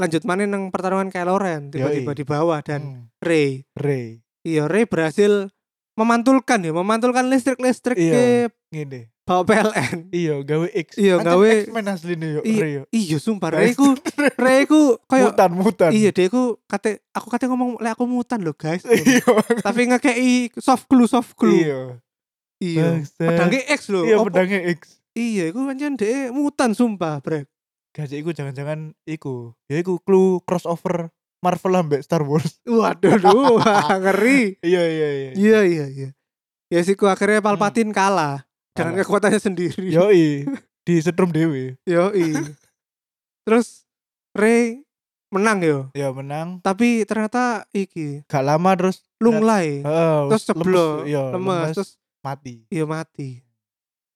Speaker 2: lanjut mana nang pertarungan Kylo Ren tiba-tiba
Speaker 1: Yoi.
Speaker 2: di bawah dan
Speaker 1: Hmm.
Speaker 2: Rey
Speaker 1: Rey.
Speaker 2: iya Rey berhasil memantulkan ya memantulkan listrik-listrik
Speaker 1: Iya.
Speaker 2: ke
Speaker 1: Ngene.
Speaker 2: bawa PLN
Speaker 1: Iya, gawe X.
Speaker 2: Iya,
Speaker 1: Ancen
Speaker 2: gawe-
Speaker 1: X-Men asline yo
Speaker 2: Iya.
Speaker 1: Rey. yo.
Speaker 2: iya sumpah
Speaker 1: Guys.
Speaker 2: Rey ku Rey ku kayak
Speaker 1: Mutan, mutan.
Speaker 2: iya dia ku kate aku kate ngomong lek aku mutan loh guys
Speaker 1: Iya.
Speaker 2: tapi ngekei soft glue soft glue
Speaker 1: Iya.
Speaker 2: iya
Speaker 1: Bangsat.
Speaker 2: pedangnya X loh
Speaker 1: Iya,
Speaker 2: Apa-
Speaker 1: pedangnya X.
Speaker 2: iya iku pancen dia mutan sumpah brek
Speaker 1: Gajah iku jangan-jangan iku. Ya iku clue crossover Marvel ambek Star Wars.
Speaker 2: waduh duh, ngeri
Speaker 1: Iya iya iya.
Speaker 2: iya iya iya ya sih ku akhirnya Palpatine kalah
Speaker 1: Hmm.
Speaker 2: dengan
Speaker 1: Kalah.
Speaker 2: kekuatannya sendiri
Speaker 1: Yoi, di setrum dewe.
Speaker 2: Yoi. Terus Ray menang yo.
Speaker 1: Ya menang.
Speaker 2: Tapi ternyata iki
Speaker 1: Gak lama terus
Speaker 2: lunglai.
Speaker 1: Heeh, lemes,
Speaker 2: terus ceblok,
Speaker 1: iya,
Speaker 2: lemes, terus
Speaker 1: mati.
Speaker 2: yo mati.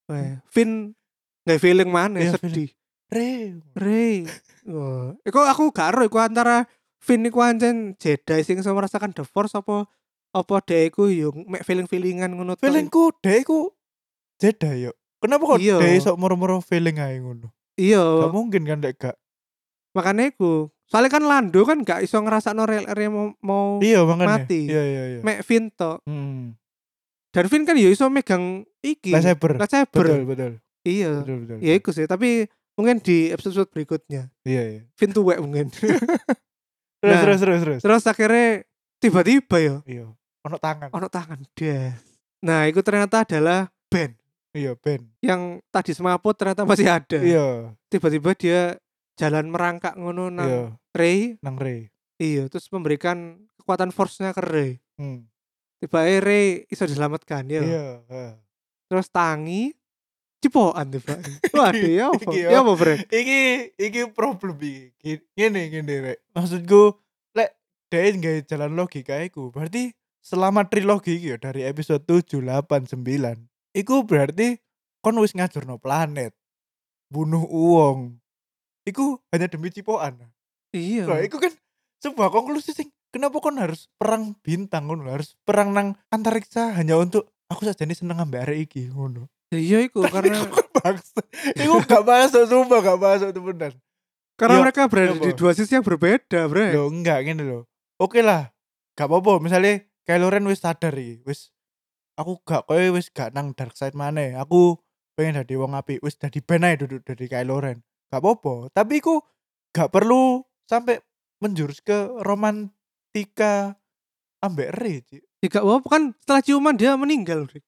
Speaker 2: Weh, Finn nggak feeling mana
Speaker 1: Iya,
Speaker 2: sedih.
Speaker 1: Re.
Speaker 2: Ray. Wah, iku aku gak ero iku antara Finn iku anjen Jedi sing iso merasakan the force apa apa dhek iku yo mek feeling-feelingan ngono tok.
Speaker 1: Feelingku deh iku jeda yo. Kenapa kok
Speaker 2: Iya.
Speaker 1: deh sok moro-moro feeling ae ngono? Gak
Speaker 2: Iya,
Speaker 1: mungkin kan dek gak.
Speaker 2: makanya iku soalnya kan Lando kan gak iso ngerasa no rel rel mau, mau
Speaker 1: iya makanya
Speaker 2: mati.
Speaker 1: iya iya iya
Speaker 2: mek Vin tok
Speaker 1: hmm.
Speaker 2: dan Vin kan ya iso megang iki
Speaker 1: lightsaber betul
Speaker 2: lightsaber
Speaker 1: betul
Speaker 2: iya
Speaker 1: betul betul
Speaker 2: ya iku sih tapi mungkin di episode berikutnya
Speaker 1: iya iya
Speaker 2: Vin tuwek mungkin
Speaker 1: terus
Speaker 2: Nah.
Speaker 1: terus terus terus
Speaker 2: terus akhirnya tiba-tiba ya
Speaker 1: iya ono tangan
Speaker 2: ono tangan des nah itu ternyata adalah band
Speaker 1: iya Ben
Speaker 2: yang tadi semaput ternyata masih ada
Speaker 1: iya
Speaker 2: tiba-tiba dia jalan merangkak ngono nang
Speaker 1: iya
Speaker 2: Rey
Speaker 1: nang Rey
Speaker 2: iya terus memberikan kekuatan force-nya ke Rey
Speaker 1: hmm.
Speaker 2: tiba Rey iso diselamatkan ya
Speaker 1: iya ha.
Speaker 2: terus tangi cipokan tiba waduh ya apa
Speaker 1: Iki ya.
Speaker 2: ya apa brek
Speaker 1: iki iki problem iki ngene ngene rek maksudku lek dhek nggawe jalan logika iku berarti selama trilogi iki ya dari episode 7 8 9 iku berarti kon wis ngajurno planet bunuh uang iku hanya demi cipokan
Speaker 2: iya
Speaker 1: Lah iku kan sebuah konklusi sing kenapa kon harus perang bintang ngono harus perang nang antariksa hanya untuk aku saja seneng ambek arek iki ngono kan
Speaker 2: Ya, iya iku karena
Speaker 1: bangsa itu gak masuk sumpah gak masuk temenan
Speaker 2: karena
Speaker 1: Yo,
Speaker 2: mereka berada
Speaker 1: apa? Iya.
Speaker 2: di dua sisi yang berbeda brek
Speaker 1: lo enggak gini lo oke lah gak apa-apa misalnya Kylo Ren wis sadar iki wis aku gak kowe wis gak nang dark side mana aku pengen jadi wong api wis jadi ben ae duduk dari Kylo Ren gak apa-apa tapi ku gak perlu sampai menjurus ke romantika ambek Rey Cik.
Speaker 2: ya gak apa kan setelah ciuman dia meninggal brek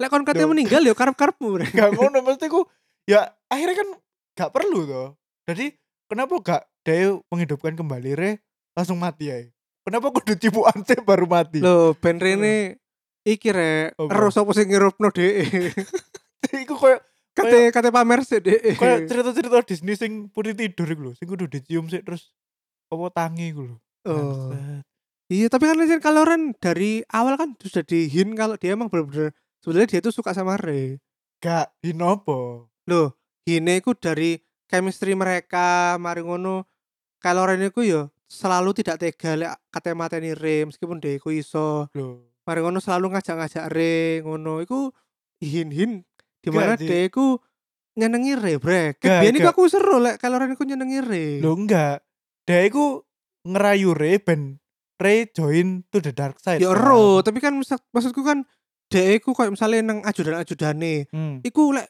Speaker 2: lek kon katanya
Speaker 1: Loh.
Speaker 2: meninggal ya karep karepmu brek
Speaker 1: gak ngono mesti ku ya akhirnya kan gak perlu toh jadi kenapa gak dia menghidupkan kembali re langsung mati ya kenapa kudu cipukan sih baru mati
Speaker 2: Loh, ben Rene iki rek
Speaker 1: Iya. Apa?
Speaker 2: ero sapa sing ngirupno dhek.
Speaker 1: iku koyo
Speaker 2: Kate kate pamer sih dhek.
Speaker 1: koyo cerita-cerita Disney sing putih tidur iku lho sing kudu dicium sih terus apa tangi iku lho
Speaker 2: Oh.
Speaker 1: Bangsat.
Speaker 2: Iya, tapi kan Lesen Kaloran dari awal kan sudah dihin kalau dia emang bener-bener sebenarnya dia tuh suka sama Re.
Speaker 1: gak inopo
Speaker 2: Loh, hine iku dari chemistry mereka, mari ngono. Kaloran iku yo selalu tidak tega lek kate mateni Re meskipun dia iku iso.
Speaker 1: lho
Speaker 2: Mari ngono selalu ngajak-ngajak Re ngono iku hin-hin di mana
Speaker 1: Gak, Ji.
Speaker 2: dia iku nyenengi Re, brek.
Speaker 1: Gak,
Speaker 2: Biyen iku
Speaker 1: gak.
Speaker 2: aku seru lek Kaloran iku nyenengi Re.
Speaker 1: lho enggak dia iku ngerayu re ben re join to the dark side
Speaker 2: Ya
Speaker 1: kan.
Speaker 2: ero, tapi kan maksud- maksudku kan dhek iku koyo misale nang ajudan-ajudane,
Speaker 1: hmm.
Speaker 2: iku lek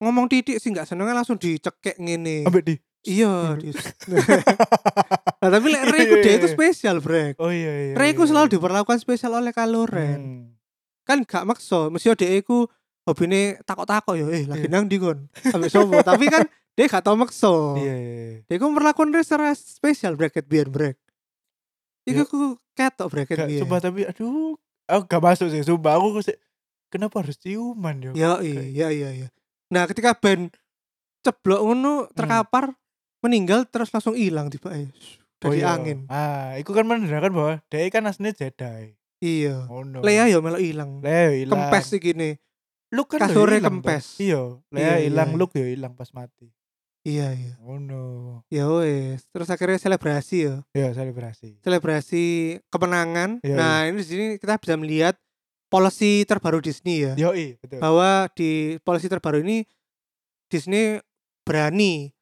Speaker 2: ngomong titik sih nggak seneng langsung dicekek ngene.
Speaker 1: ambek di
Speaker 2: Iya, di- Nah, tapi lek
Speaker 1: Iya,
Speaker 2: Rey iku
Speaker 1: iya,
Speaker 2: dhek iku
Speaker 1: iya.
Speaker 2: spesial, Brek.
Speaker 1: oh iya iya
Speaker 2: Rey
Speaker 1: iya,
Speaker 2: iku selalu
Speaker 1: iya.
Speaker 2: diperlakukan spesial oleh Kaloren.
Speaker 1: Hmm.
Speaker 2: Kan gak maksa, mesti dhek iku hobine takok-takok ya, eh lagi nang ndi kon? Ambek sapa? Tapi kan dia gak tau maksa.
Speaker 1: iya iya iya.
Speaker 2: Dia iku memperlakukan Rey secara spesial bracket biar brek. Iku
Speaker 1: Yo.
Speaker 2: aku ketok bracket
Speaker 1: Ya. Gak,
Speaker 2: biar.
Speaker 1: sumpah tapi aduh, aku gak masuk sih sumpah aku sih kenapa harus ciuman yo?
Speaker 2: Ya iya iya iya. Nah, ketika Ben ceblok ngono
Speaker 1: Hmm.
Speaker 2: terkapar meninggal terus langsung hilang tiba eh
Speaker 1: Oh,
Speaker 2: dari
Speaker 1: iya.
Speaker 2: angin.
Speaker 1: Ah, itu kan menandakan bahwa dia kan aslinya Jedi.
Speaker 2: Iya.
Speaker 1: Oh no. iya,
Speaker 2: Lea ya melo hilang.
Speaker 1: Lea yo hilang.
Speaker 2: Kempes iki gini.
Speaker 1: Luke kan yo
Speaker 2: kasurnya
Speaker 1: hilang,
Speaker 2: kempes.
Speaker 1: Pak. Iya,
Speaker 2: Iya,
Speaker 1: Lea
Speaker 2: iya,
Speaker 1: hilang,
Speaker 2: iya.
Speaker 1: Luke yo hilang pas mati.
Speaker 2: Iya iya.
Speaker 1: Oh no.
Speaker 2: Ya wes. Terus akhirnya selebrasi ya.
Speaker 1: Ya selebrasi.
Speaker 2: Selebrasi kemenangan.
Speaker 1: Iya,
Speaker 2: nah, ini di sini kita bisa melihat policy terbaru Disney ya.
Speaker 1: Yo i, betul.
Speaker 2: Bahwa di policy terbaru ini Disney berani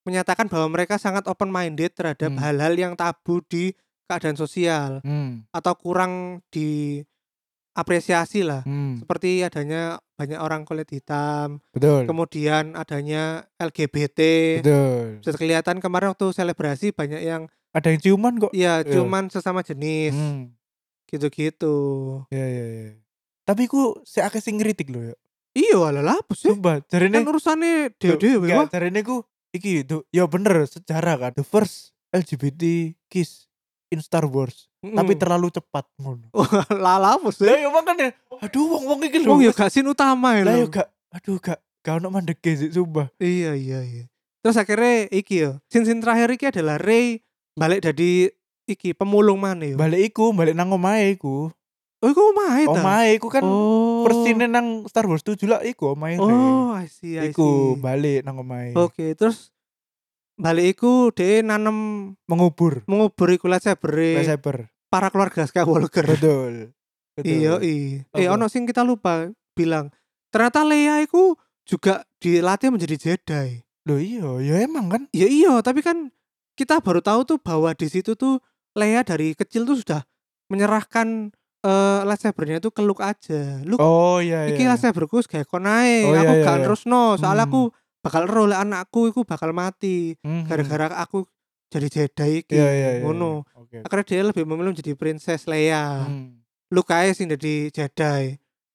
Speaker 2: menyatakan bahwa mereka sangat open minded terhadap
Speaker 1: Hmm.
Speaker 2: hal-hal yang tabu di keadaan sosial.
Speaker 1: Hmm.
Speaker 2: atau kurang diapresiasi lah
Speaker 1: Hmm.
Speaker 2: seperti adanya banyak orang kulit hitam
Speaker 1: Betul.
Speaker 2: kemudian adanya LGBT
Speaker 1: Betul.
Speaker 2: bisa kelihatan kemarin waktu selebrasi banyak yang
Speaker 1: Ada yang ciuman kok.
Speaker 2: ya
Speaker 1: Iya.
Speaker 2: cuman sesama jenis
Speaker 1: Hmm.
Speaker 2: gitu-gitu
Speaker 1: Ya ya ya. Tapi ku si akeh sing ngritik lho yo.
Speaker 2: iya lah lapus sih
Speaker 1: Sumpah,
Speaker 2: kan
Speaker 1: jarine
Speaker 2: urusannya dewe-dewe wah
Speaker 1: Enggak, caranya ku iki itu ya bener sejarah kan the first LGBT kiss in Star Wars tapi terlalu cepat ngono
Speaker 2: Hmm. lah iya, lapus
Speaker 1: lah
Speaker 2: sih
Speaker 1: ya makanya aduh wong wong iki lho
Speaker 2: wong ya gak sin utama ya
Speaker 1: lah ya
Speaker 2: lho.
Speaker 1: gak aduh gak gak ono mandeke sih sumpah
Speaker 2: iya iya iya terus akhirnya iki ya sin-sin terakhir iki adalah Ray balik jadi iki pemulung mana ya
Speaker 1: balik iku balik nang omahe iku
Speaker 2: oh iku omahe ta?
Speaker 1: omahe iku kan
Speaker 2: oh.
Speaker 1: persine nang Star Wars 7 lah iku omahe Rey.
Speaker 2: Oh, I see, I see.
Speaker 1: iku balik nang omahe
Speaker 2: Oke, terus balik iku dhewe nanem
Speaker 1: mengubur
Speaker 2: mengubur iku lightsaber
Speaker 1: lightsaber
Speaker 2: para keluarga Skywalker.
Speaker 1: betul betul
Speaker 2: Iya, iya. Eh
Speaker 1: Apa?
Speaker 2: ono sing kita lupa bilang. Ternyata Leia iku juga dilatih menjadi Jedi.
Speaker 1: Loh, iya ya emang kan
Speaker 2: Ya iya, tapi kan kita baru tahu tuh bahwa di situ tuh Leia dari kecil tuh sudah menyerahkan eh lightsabernya tuh ke Luke aja. Luke
Speaker 1: Oh iya iya.
Speaker 2: iki lightsaberku kayak kok naik.
Speaker 1: Oh, iya,
Speaker 2: aku
Speaker 1: iya,
Speaker 2: gak
Speaker 1: iya.
Speaker 2: terusno, soalnya
Speaker 1: Hmm.
Speaker 2: aku bakal ero lek anakku iku bakal mati
Speaker 1: Mhm.
Speaker 2: gara-gara aku jadi Jedi iki.
Speaker 1: Iya iya iya.
Speaker 2: ngono.
Speaker 1: Oke. oke.
Speaker 2: Akhirnya dia lebih memilih menjadi princess Leia.
Speaker 1: Hmm.
Speaker 2: Luke aja sih jadi Jedi.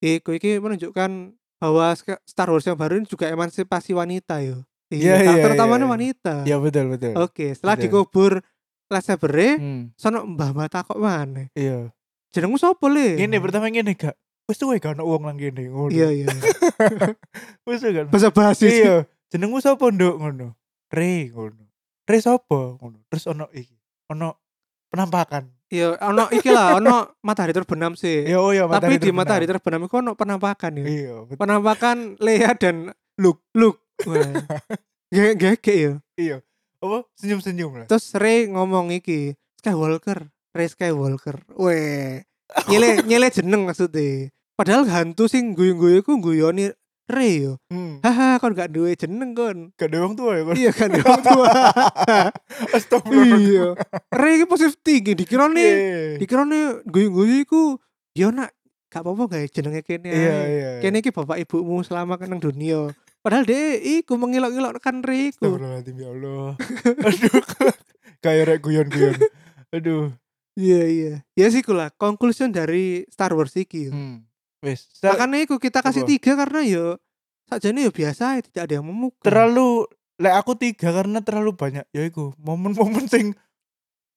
Speaker 2: Iku iki menunjukkan bahwa sk- Star Wars yang baru ini juga emansipasi wanita yo.
Speaker 1: Iya, iya,
Speaker 2: karakter
Speaker 1: iya,
Speaker 2: utamanya
Speaker 1: iya.
Speaker 2: wanita.
Speaker 1: Iya betul betul.
Speaker 2: Oke, setelah
Speaker 1: Betul.
Speaker 2: dikubur lightsaber
Speaker 1: Hmm.
Speaker 2: sono Mbah Mbah takok maneh.
Speaker 1: Iya.
Speaker 2: Jenengmu sapa le?
Speaker 1: Ngene pertama ngene gak. Wis tuh gak ono wong nang kene ngono.
Speaker 2: Iya iya.
Speaker 1: Wis tuh gak. ono.
Speaker 2: Bahasa basi. sih.
Speaker 1: Iya. Jenengmu sapa nduk ngono. Re ngono. Re sapa ngono. Terus ono iki. Ono penampakan.
Speaker 2: Iya, ono iki lah, ono matahari terbenam sih.
Speaker 1: Iya oh iya
Speaker 2: Tapi di
Speaker 1: terbenam.
Speaker 2: matahari terbenam itu ono penampakan ya.
Speaker 1: Iya. betul.
Speaker 2: Penampakan Leia dan
Speaker 1: Luke.
Speaker 2: Luke. Wah. Ge- Gege ya.
Speaker 1: Apa senyum-senyum lah.
Speaker 2: Terus Rey ngomong iki Skywalker, Rey Skywalker. Weh, nyele nyele jeneng maksudnya. Padahal hantu sing guyu-guyu ku guyoni Rey yo.
Speaker 1: Hmm.
Speaker 2: Haha, kon gak duwe jeneng kon.
Speaker 1: Gak ada wong tua ya kan.
Speaker 2: Iya kan orang tua.
Speaker 1: Astagfirullah.
Speaker 2: iya. Rey iki positif tinggi dikira nih,
Speaker 1: Iya.
Speaker 2: dikira nih guyu-guyu iku yo nak gak apa-apa gak jenenge kene. ae.
Speaker 1: Iya iya.
Speaker 2: Kene iki bapak ibumu selama kenang dunia. Padahal dia iku mengilok-ilokkan Rey iku.
Speaker 1: Astagfirullahaladzim ya Allah. Aduh. Kayak rek guyon-guyon. Aduh.
Speaker 2: Iya iya. Ya sih kulah conclusion dari Star Wars iki. yo.
Speaker 1: Hmm. Wis. Sa-
Speaker 2: Makanya iku kita kasih
Speaker 1: Apa?
Speaker 2: tiga karena yo sajane yo biasa tidak ada yang
Speaker 1: hmm.
Speaker 2: memukul.
Speaker 1: terlalu lek aku tiga karena terlalu banyak ya iku momen-momen sing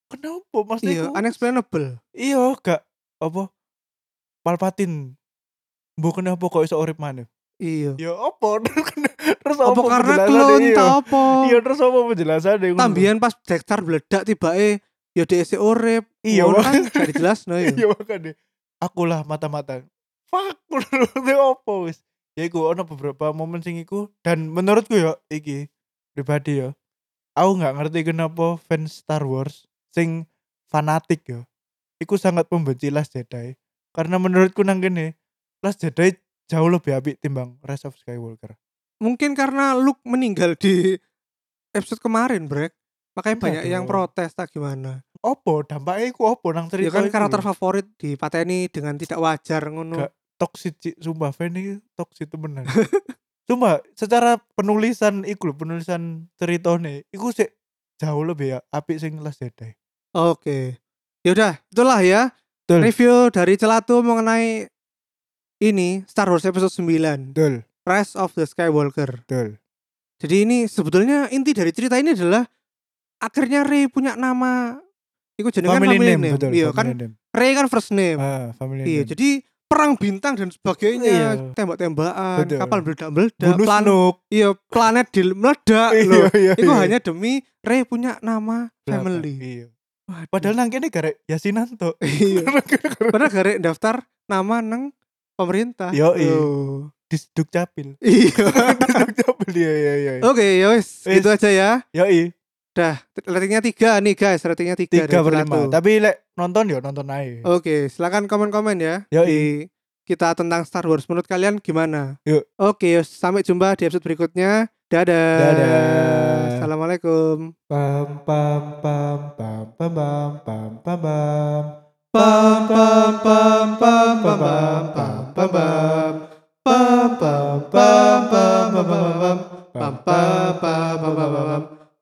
Speaker 1: kenapa mas
Speaker 2: iya,
Speaker 1: iku
Speaker 2: unexplainable.
Speaker 1: iya gak apa Palpatin bu kenapa kok iso urip maneh
Speaker 2: Iya.
Speaker 1: ya apa terus
Speaker 2: Apa karena klon
Speaker 1: penjelasannya? Iya.
Speaker 2: ta apa?
Speaker 1: iya terus apa penjelasan deh
Speaker 2: Tambian pas Jack Star meledak ya tibae yo DSC urip.
Speaker 1: Iya,
Speaker 2: Ngono
Speaker 1: Bang.
Speaker 2: kan jadi jelas no yo.
Speaker 1: iya makanya aku lah mata-mata fuck itu apa wis ya iku ono beberapa momen sing iku dan menurutku ya iki pribadi ya aku nggak ngerti kenapa fans Star Wars sing fanatik ya iku sangat membenci Last Jedi karena menurutku nang kene Last Jedi jauh lebih apik timbang Rise of Skywalker
Speaker 2: Mungkin karena Luke meninggal di episode kemarin, Brek. Makanya
Speaker 1: Enggak
Speaker 2: banyak yang
Speaker 1: dong.
Speaker 2: protes tak gimana.
Speaker 1: opo dampaknya iku opo nang
Speaker 2: Ya
Speaker 1: cerita
Speaker 2: kan
Speaker 1: iku
Speaker 2: karakter
Speaker 1: lho.
Speaker 2: favorit di pateni dengan tidak wajar ngono.
Speaker 1: Gak. toxic Ci. sumpah fan ini toxic temenan Sumpah secara penulisan iku lho, penulisan ceritane iku sih jauh lebih ya apik sing Last Jedi
Speaker 2: Oke. Yaudah, itulah ya
Speaker 1: Betul.
Speaker 2: review dari Celatu mengenai ini Star Wars episode 9,
Speaker 1: betul
Speaker 2: Rise of the Skywalker.
Speaker 1: betul
Speaker 2: Jadi ini sebetulnya inti dari cerita ini adalah akhirnya Rey punya nama Iku jenengan
Speaker 1: family, name, betul
Speaker 2: Iya
Speaker 1: family
Speaker 2: kan
Speaker 1: name
Speaker 2: Rey kan first name.
Speaker 1: ah family
Speaker 2: iya,
Speaker 1: name
Speaker 2: jadi perang bintang dan sebagainya,
Speaker 1: Iya.
Speaker 2: tembak-tembakan,
Speaker 1: Betul.
Speaker 2: kapal meledak-meledak,
Speaker 1: bonus
Speaker 2: plan-
Speaker 1: Snoke.
Speaker 2: iya, planet di meledak
Speaker 1: iya
Speaker 2: loh.
Speaker 1: iya
Speaker 2: Itu
Speaker 1: iya.
Speaker 2: hanya demi Rey punya nama
Speaker 1: Belakang,
Speaker 2: family.
Speaker 1: iya
Speaker 2: Waduh.
Speaker 1: padahal nang kene garek Yasinan tok
Speaker 2: iya. Padahal garek daftar nama nang pemerintah.
Speaker 1: Yoi.
Speaker 2: Oh.
Speaker 1: di Dukcapil
Speaker 2: Iya.
Speaker 1: Di Dukcapil iya iya iya
Speaker 2: Oke, ya wis,
Speaker 1: Wis.
Speaker 2: gitu aja ya.
Speaker 1: yoi
Speaker 2: Dah, ratingnya tiga nih guys, ratingnya tiga.
Speaker 1: tiga
Speaker 2: dari
Speaker 1: per lima
Speaker 2: satu.
Speaker 1: tapi lek nonton ya nonton aja
Speaker 2: Oke, silakan komen-komen ya.
Speaker 1: Yoi.
Speaker 2: di kita tentang Star Wars menurut kalian gimana?
Speaker 1: Yuk.
Speaker 2: Oke, yos, sampai jumpa di episode berikutnya. Dadah.
Speaker 1: Dadah.
Speaker 2: Assalamualaikum.
Speaker 1: pam pam pam pam pam pam pam pam pam pam pam pam pam pam